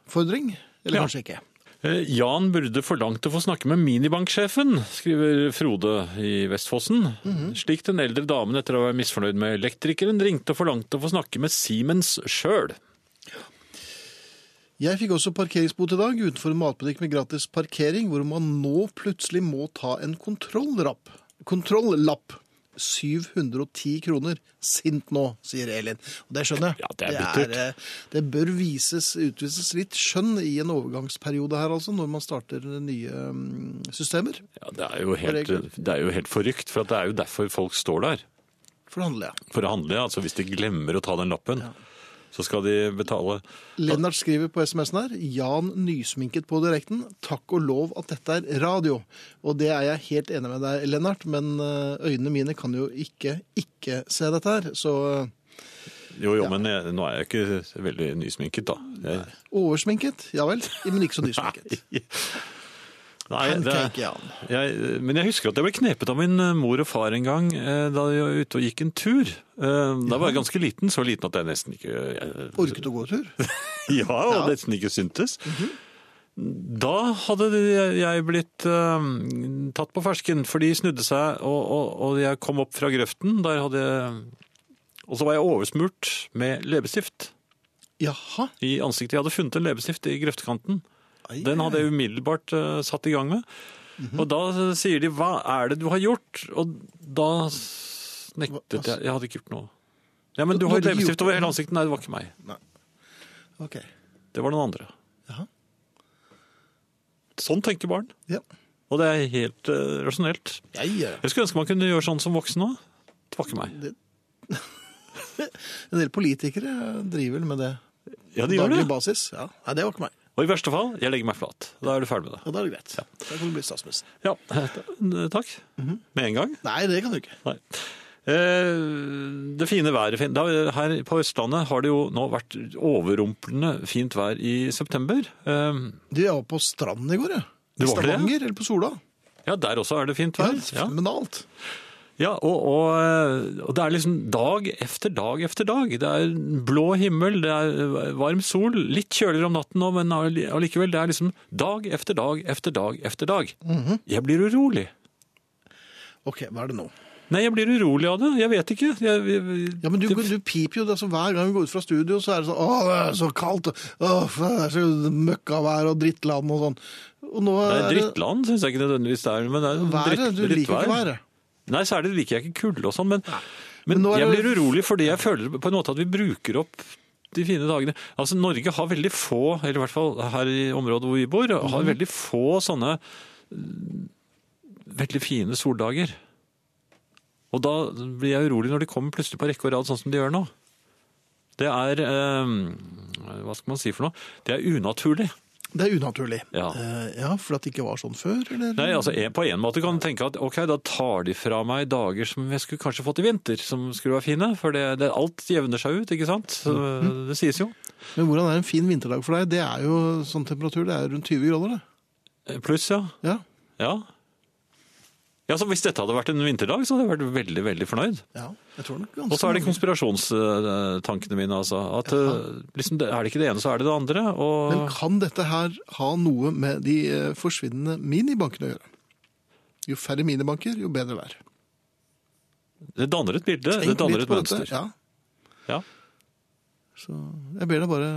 Speaker 1: oppfordring. Eller
Speaker 2: Ja.
Speaker 1: kanskje ikke.
Speaker 2: Eh, Jan burde forlangt å få snakke med minibanksjefen, skriver Frode i Vestfossen. Slik den eldre damen etter å være misfornøyd med elektrikeren ringte og forlangte å få snakke med Siemens sjøl.
Speaker 1: Jeg fikk også parkeringsbot i dag utenfor en matbutikk med gratis parkering, hvor man nå plutselig må ta en kontrollrapp. kontrolllapp. 710 kroner. Sint nå, sier Elin. Og det skjønner jeg.
Speaker 2: Ja, det er bittert.
Speaker 1: er, eh, det bør vises, utvises litt skjønn i en overgangsperiode her, altså, når man starter nye mm, systemer.
Speaker 2: Ja, det, er jo helt- det er jo helt forrykt, for at det er jo derfor folk står der.
Speaker 1: For det handler jeg.
Speaker 2: For å handle, altså hvis de glemmer å ta den lappen, så skal de betale.
Speaker 1: Lennart skriver på SMS-en her. Jan nysminket på direkten. Takk og lov at dette er radio. Og det er jeg helt enig med deg, Lennart, men eh, øynene mine kan jo ikke ikke se dette her. Så eh,
Speaker 2: Jo, jo, men jeg, nå er jeg ikke veldig nysminket, da. Jeg,
Speaker 1: Oversminket, ja vel, men ikke så nysminket.
Speaker 2: nei, det,
Speaker 1: Pancake, ja.
Speaker 2: jeg, men jeg husker at jeg ble knepet av min eh, mor og far en gang eh, da jeg var ute og gikk en tur. Eh, Da var jeg ganske liten, så liten at jeg nesten ikke jeg,
Speaker 1: Orket å gå tur.
Speaker 2: Ja,
Speaker 1: Ja.
Speaker 2: og nesten ikke syntes. Da hadde de- jeg blitt eh, tatt på fersken, for de snudde seg, og, og, og jeg kom opp fra grøften. Der hadde jeg Og så var jeg oversmurt med leppestift
Speaker 1: Jaha.
Speaker 2: i ansiktet. Jeg hadde funnet en leppestift i grøftekanten.
Speaker 1: Ai,
Speaker 2: Den hadde jeg umiddelbart eh, satt i gang med.
Speaker 1: Mhm.
Speaker 2: Og da eh, sier de 'hva er det du har gjort?' Og da s- nektet jeg. Jeg hadde ikke gjort noe. Ja, men
Speaker 1: Du- du
Speaker 2: du har jo
Speaker 1: hadde ikke
Speaker 2: leppestift
Speaker 1: gjort
Speaker 2: over
Speaker 1: noe?
Speaker 2: hele ansiktet. Nei, det var ikke meg.
Speaker 1: Ok.
Speaker 2: Det var noen andre.
Speaker 1: Jaha.
Speaker 2: Sånn tenker barn.
Speaker 1: Ja.
Speaker 2: Og det er helt eh, rasjonelt.
Speaker 1: Jeg, eh,
Speaker 2: Jeg skulle ønske man kunne gjøre sånn som voksen òg. Tvakke meg.
Speaker 1: en del politikere driver vel med det.
Speaker 2: Ja,
Speaker 1: På
Speaker 2: de gjør
Speaker 1: daglig
Speaker 2: det.
Speaker 1: basis. Ja. Nei, det var ikke meg.
Speaker 2: Og i verste fall, jeg legger meg flat. Da er du ferdig med det.
Speaker 1: Ja, da er det greit. Da kan du bli statsminister.
Speaker 2: Ja, eh, takk.
Speaker 1: Mhm.
Speaker 2: Med en gang.
Speaker 1: Nei, det kan du ikke.
Speaker 2: Nei. Eh, Det fine været fin- da, Her på Østlandet har det jo nå vært overrumplende fint vær i september. Eh,
Speaker 1: Du, jeg var på stranden i går, jeg.
Speaker 2: Du
Speaker 1: I
Speaker 2: var det, ja?
Speaker 1: Stavanger, eller på Sola.
Speaker 2: Ja, der også er det fint
Speaker 1: Ja,
Speaker 2: vær. Ja,
Speaker 1: fenomenalt.
Speaker 2: ja og, og, eh, og det er liksom dag efter dag efter dag. Det er blå himmel, det er varm sol, litt kjøligere om natten nå, men alli- allikevel, det er liksom dag efter dag efter dag efter dag.
Speaker 1: Mhm.
Speaker 2: Jeg blir urolig.
Speaker 1: Ok, hva er det nå?
Speaker 2: Nei, jeg blir urolig av det. Jeg vet ikke. Jeg, jeg,
Speaker 1: Ja, men du,
Speaker 2: det-
Speaker 1: du piper jo det som hver gang vi går ut fra studio, så er det sånn Å, det er så kaldt! Åh, det er så møkkavær og drittland og sånn. Og nå
Speaker 2: Nei,
Speaker 1: er det
Speaker 2: drittland syns jeg ikke nødvendigvis det er. Men det er
Speaker 1: været.
Speaker 2: dritt,
Speaker 1: du liker ikke
Speaker 2: drittvær.
Speaker 1: været.
Speaker 2: Nei, særlig liker jeg ikke kulde og sånn, men, men,
Speaker 1: Men nå er
Speaker 2: jeg
Speaker 1: det-
Speaker 2: blir urolig fordi jeg føler på en måte at vi bruker opp de fine dagene. Altså, Norge har veldig få, eller i hvert fall her i området hvor vi bor,
Speaker 1: Mhm.
Speaker 2: har veldig få sånne mm, veldig fine soldager. Og da blir jeg urolig når de kommer plutselig på rekke og rad, sånn som de gjør nå. Det er eh, Hva skal man si for noe? Det er unaturlig.
Speaker 1: Det er unaturlig.
Speaker 2: Ja.
Speaker 1: Eh, ja, for at det ikke var sånn før, eller?
Speaker 2: Nei, altså en- På en måte kan du tenke at ok, da tar de fra meg dager som jeg skulle kanskje fått i vinter, som skulle være fine. For det, det, alt jevner seg ut, ikke sant? Så,
Speaker 1: Mhm.
Speaker 2: Det sies jo.
Speaker 1: Men hvordan er en fin vinterdag for deg? Det er jo sånn temperatur, det er rundt 20 grader, det.
Speaker 2: Pluss, ja.
Speaker 1: Ja.
Speaker 2: Ja. ja så hvis dette hadde vært en vinterdag, så hadde jeg vært veldig, veldig fornøyd.
Speaker 1: ja. Jeg tror nok
Speaker 2: Og
Speaker 1: ganske
Speaker 2: så er det
Speaker 1: mange-
Speaker 2: konspirasjonstankene mine, altså. At eh, liksom, det- er det ikke det ene, så er det det
Speaker 1: Men
Speaker 2: andre. Og
Speaker 1: kan dette her ha noe med de eh, forsvinnende minibankene å gjøre? Jo færre minibanker, jo bedre vær.
Speaker 2: det danner et bilde, det
Speaker 1: Tenk
Speaker 2: danner
Speaker 1: litt
Speaker 2: et
Speaker 1: på dette,
Speaker 2: mønster.
Speaker 1: Ja.
Speaker 2: Ja.
Speaker 1: Så jeg ber deg bare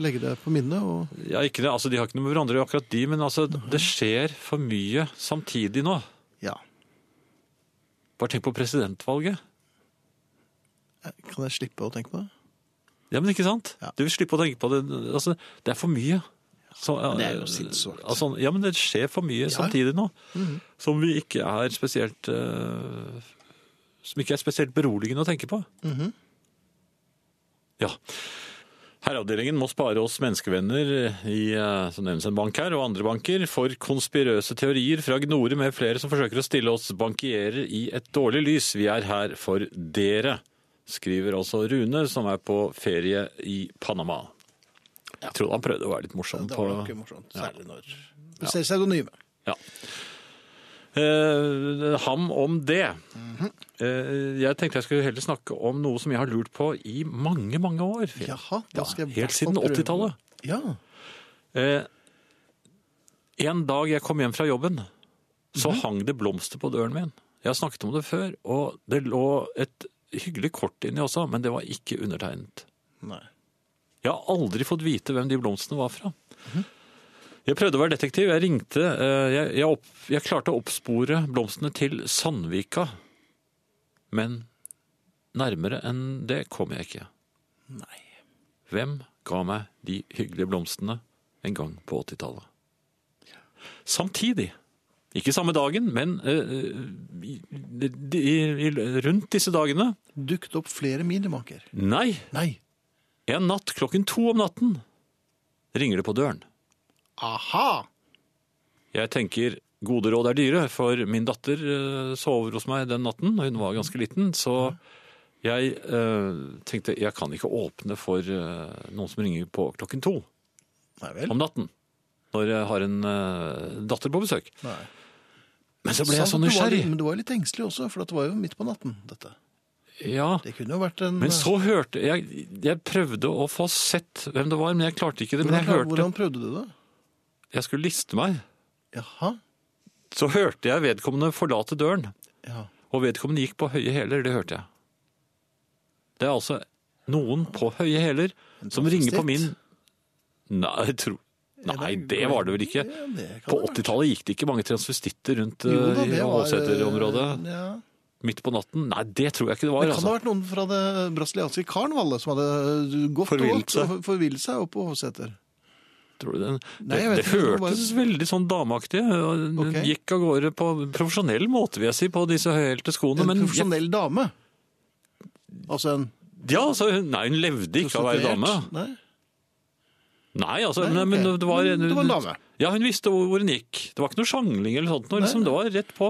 Speaker 1: legge det på minnet. Og...
Speaker 2: Ja, ikke det, altså De har ikke noe med hverandre å gjøre, akkurat de, men altså, det skjer for mye samtidig nå.
Speaker 1: Ja.
Speaker 2: Bare tenk på presidentvalget.
Speaker 1: Kan jeg slippe å tenke på det?
Speaker 2: Ja, men ikke sant?
Speaker 1: Ja.
Speaker 2: Du vil slippe å tenke på det. Altså, det er for mye. Så,
Speaker 1: det er jo sinnssvakt. Mhm.
Speaker 2: Altså, ja, men det skjer for mye samtidig nå. Som vi ikke er spesielt eh, Som ikke er spesielt beroligende å tenke på.
Speaker 1: Mhm.
Speaker 2: Ja. Herreavdelingen må spare oss menneskevenner i eh, som nevnes en bank her, og andre banker for konspirøse teorier fra Gnore med flere som forsøker å stille oss bankierer i et dårlig lys. Vi er her for dere, skriver altså Rune, som er på ferie i Panama. Jeg trodde han prøvde å være litt morsom.
Speaker 1: Det var
Speaker 2: på-
Speaker 1: nok morsomt, særlig når Du ser pseudonyme.
Speaker 2: ja. Eh, ham om det.
Speaker 1: Mhm.
Speaker 2: Eh, jeg tenkte jeg skulle heller snakke om noe som jeg har lurt på i mange, mange år. Finn.
Speaker 1: Jaha, da skal jeg i
Speaker 2: helt
Speaker 1: hvert fall
Speaker 2: siden
Speaker 1: prøve.
Speaker 2: 80-tallet.
Speaker 1: Ja.
Speaker 2: Eh, en dag jeg kom hjem fra jobben, så hang det blomster på døren min. Jeg har snakket om det før, og det lå et hyggelig kort inni også, men det var ikke undertegnet.
Speaker 1: Nei.
Speaker 2: Jeg har aldri fått vite hvem de blomstene var fra. Jeg prøvde å være detektiv. Jeg ringte. eh, Jeg, jeg, opp, jeg klarte å oppspore blomstene til Sandvika. Men nærmere enn det kom jeg ikke.
Speaker 1: Nei.
Speaker 2: Hvem ga meg de hyggelige blomstene en gang på 80-tallet? Samtidig, ikke samme dagen, men eh, i, i, i, rundt disse dagene
Speaker 1: Dukket opp flere minibanker.
Speaker 2: Nei,
Speaker 1: Nei.
Speaker 2: en natt klokken to om natten ringer det på døren.
Speaker 1: Aha!
Speaker 2: Jeg tenker gode råd er dyre, for min datter eh, sover hos meg den natten, og hun var ganske liten, så Jeg eh, tenkte jeg kan ikke åpne for eh, noen som ringer på klokken to
Speaker 1: Nei vel.
Speaker 2: om natten. Når jeg har en eh, datter på besøk.
Speaker 1: Nei.
Speaker 2: Men så ble jeg så
Speaker 1: Sant, du var
Speaker 2: sånn nysgjerrig.
Speaker 1: litt- Men du var litt engstelig også, for det var jo midt på natten, dette.
Speaker 2: Ja,
Speaker 1: Det kunne jo vært en eh,
Speaker 2: Men så hørte jeg Jeg prøvde å få sett hvem det var, men jeg klarte ikke det. Men
Speaker 1: hvordan,
Speaker 2: jeg hørte
Speaker 1: hvordan prøvde du det?
Speaker 2: Jeg skulle liste meg.
Speaker 1: Jaha.
Speaker 2: Så hørte jeg vedkommende forlate døren.
Speaker 1: Ja.
Speaker 2: Og vedkommende gikk på høye hæler, det hørte jeg. Det er altså noen på høye hæler som
Speaker 1: det er
Speaker 2: ringer på
Speaker 1: stilt.
Speaker 2: min Nei, jeg tror... Nei, det var det vel ikke.
Speaker 1: Ja, det kan
Speaker 2: På
Speaker 1: det være.
Speaker 2: 80-tallet gik det ikke mange transvestitter rundt
Speaker 1: Jo da,
Speaker 2: eh, i
Speaker 1: det var,
Speaker 2: Åseter-området.
Speaker 1: Ja.
Speaker 2: Midt på natten? Nei, det tror jeg ikke det
Speaker 1: Det
Speaker 2: var.
Speaker 1: kan ha
Speaker 2: altså.
Speaker 1: vært noen fra det brasilianske karnevalet som hadde eh, gått
Speaker 2: Forvillet seg.
Speaker 1: og forvillet seg opp på Hovseter.
Speaker 2: Tror du det?
Speaker 1: Nei, jeg
Speaker 2: det,
Speaker 1: vet
Speaker 2: det
Speaker 1: ikke, det var
Speaker 2: hørtes veldig sånn dameaktig. og
Speaker 1: Ok.
Speaker 2: Gikk av gårde på profesjonell måte, vil jeg si, på disse høyhælte skoene.
Speaker 1: En
Speaker 2: Men
Speaker 1: profesjonell dame. Altså en
Speaker 2: ja, altså, hun- nei, hun levde ikke av å være dame.
Speaker 1: prostituert. Nei.
Speaker 2: Nei, altså,
Speaker 1: Nei,
Speaker 2: men- men
Speaker 1: ok.
Speaker 2: det var,
Speaker 1: Men det var en dame.
Speaker 2: Ja, hun visste hvor, hvor hun gikk. Det var ikke noe sjangling eller sånt. noe, Liksom, det var rett på.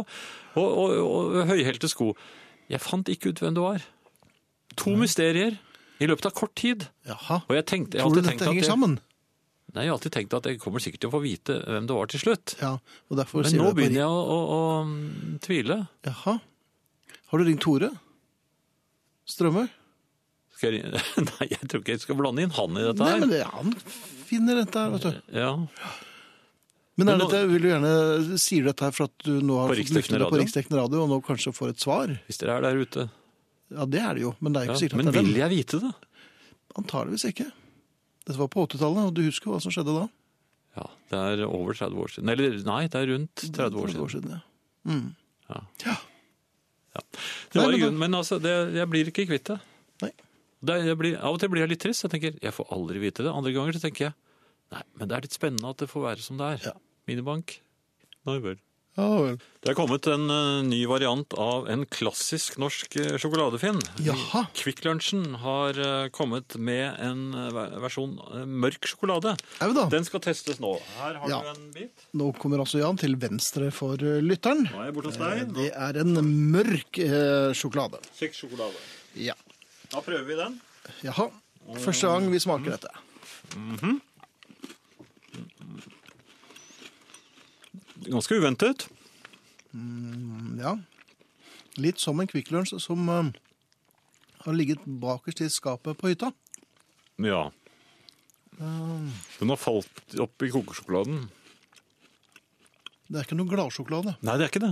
Speaker 2: Og, og, og høyhælte sko. Jeg fant ikke ut hvem det var. To mysterier i løpet av kort tid.
Speaker 1: Jaha.
Speaker 2: Og jeg tenkte, jeg har
Speaker 1: Tror du
Speaker 2: alltid
Speaker 1: dette
Speaker 2: tenkt at
Speaker 1: henger
Speaker 2: jeg,
Speaker 1: sammen?
Speaker 2: nei, jeg har alltid tenkt at jeg kommer sikkert til å få vite hvem det var til slutt.
Speaker 1: Ja, og derfor
Speaker 2: Men
Speaker 1: sier
Speaker 2: nå
Speaker 1: du det på
Speaker 2: begynner jeg å, å, å tvile.
Speaker 1: ri- Jaha. Har du ringt Tore? Strømøy?
Speaker 2: Skal jeg, nei, jeg tror ikke jeg skal blande inn han i dette
Speaker 1: Nei,
Speaker 2: her.
Speaker 1: men det, han finner dette her, vet du.
Speaker 2: Ja,
Speaker 1: Men er
Speaker 2: Men nå-
Speaker 1: dette, vil du gjerne sier du dette her for at du nå har
Speaker 2: På
Speaker 1: fått luftet
Speaker 2: riksdekkende
Speaker 1: det på
Speaker 2: radio?
Speaker 1: riksdekkende radio, og nå kanskje får et svar?
Speaker 2: hvis dere er der ute.
Speaker 1: Ja, det er det jo, men det er jo
Speaker 2: Ja.
Speaker 1: ikke sikkert
Speaker 2: Men
Speaker 1: at det er
Speaker 2: vil
Speaker 1: den.
Speaker 2: jeg vite det?
Speaker 1: Antageligvis ikke. Dette var på 80-tallet, og du husker jo hva som skjedde da?
Speaker 2: Ja, det er over 30 år siden. Eller nei, det er rundt 30 år siden.
Speaker 1: ja. Mm.
Speaker 2: Det
Speaker 1: Nei,
Speaker 2: var
Speaker 1: men
Speaker 2: i
Speaker 1: da-
Speaker 2: grunnen, men altså, det, jeg blir ikke kvitt det.
Speaker 1: Nei.
Speaker 2: det jeg blir, av og til blir jeg litt trist. Jeg tenker, jeg får aldri vite det. Andre ganger så tenker jeg, nei, men det er litt spennende at det får være som det er.
Speaker 1: Ja.
Speaker 2: Minibank. Nei vel.
Speaker 1: Ja vel.
Speaker 2: Det er kommet en eh, ny variant av en klassisk norsk eh, sjokoladefinn.
Speaker 1: Jaha.
Speaker 2: Kvikk Lunsjen har eh, kommet med en eh, ver- versjon eh, mørk sjokolade.
Speaker 1: Er vi da?
Speaker 2: Den skal testes nå. Her har
Speaker 1: Ja.
Speaker 2: du en bit.
Speaker 1: Nå kommer altså Jan til venstre for eh, lytteren.
Speaker 2: Nå er jeg borte hos
Speaker 1: Eh,
Speaker 2: deg.
Speaker 1: Det er en mørk eh, sjokolade.
Speaker 2: Kjekk sjokolade.
Speaker 1: Ja.
Speaker 2: Da prøver vi den.
Speaker 1: Jaha. Første gang vi smaker dette.
Speaker 2: Ganske uventet.
Speaker 1: Mm, Ja. Litt som en Kvikk Lunsj som eh, har ligget bakerst i skapet på hytta.
Speaker 2: Ja. Den har falt opp i kokesjokoladen.
Speaker 1: Det er ikke noe gladsjokolade.
Speaker 2: Nei, det er ikke det.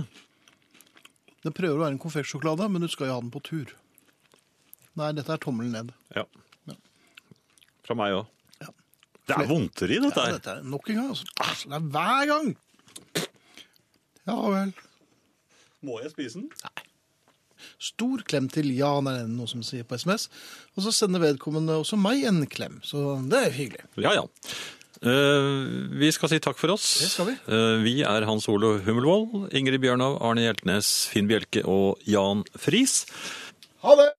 Speaker 1: Det prøver å være en konfektsjokolade, men du skal jo ha den på tur. Nei, dette er tommelen ned.
Speaker 2: Ja. Fra meg òg.
Speaker 1: Ja.
Speaker 2: Det er vondteri, dette
Speaker 1: Ja,
Speaker 2: her.
Speaker 1: dette er nok en gang. Altså. Altså, Det er hver gang! Ja vel.
Speaker 2: Må jeg spise den?
Speaker 1: Stor klem til Jan, er det noe som sier på SMS. Og så sender vedkommende også meg en klem, så det er hyggelig.
Speaker 2: Ja, ja. Eh, vi skal si takk for oss.
Speaker 1: Det skal vi.
Speaker 2: Eh, vi er Hans Olo Hummelvold, Ingrid Bjørnov, Arne Hjeltnes, Finn Bjelke og Jan Friis.
Speaker 1: Ha det!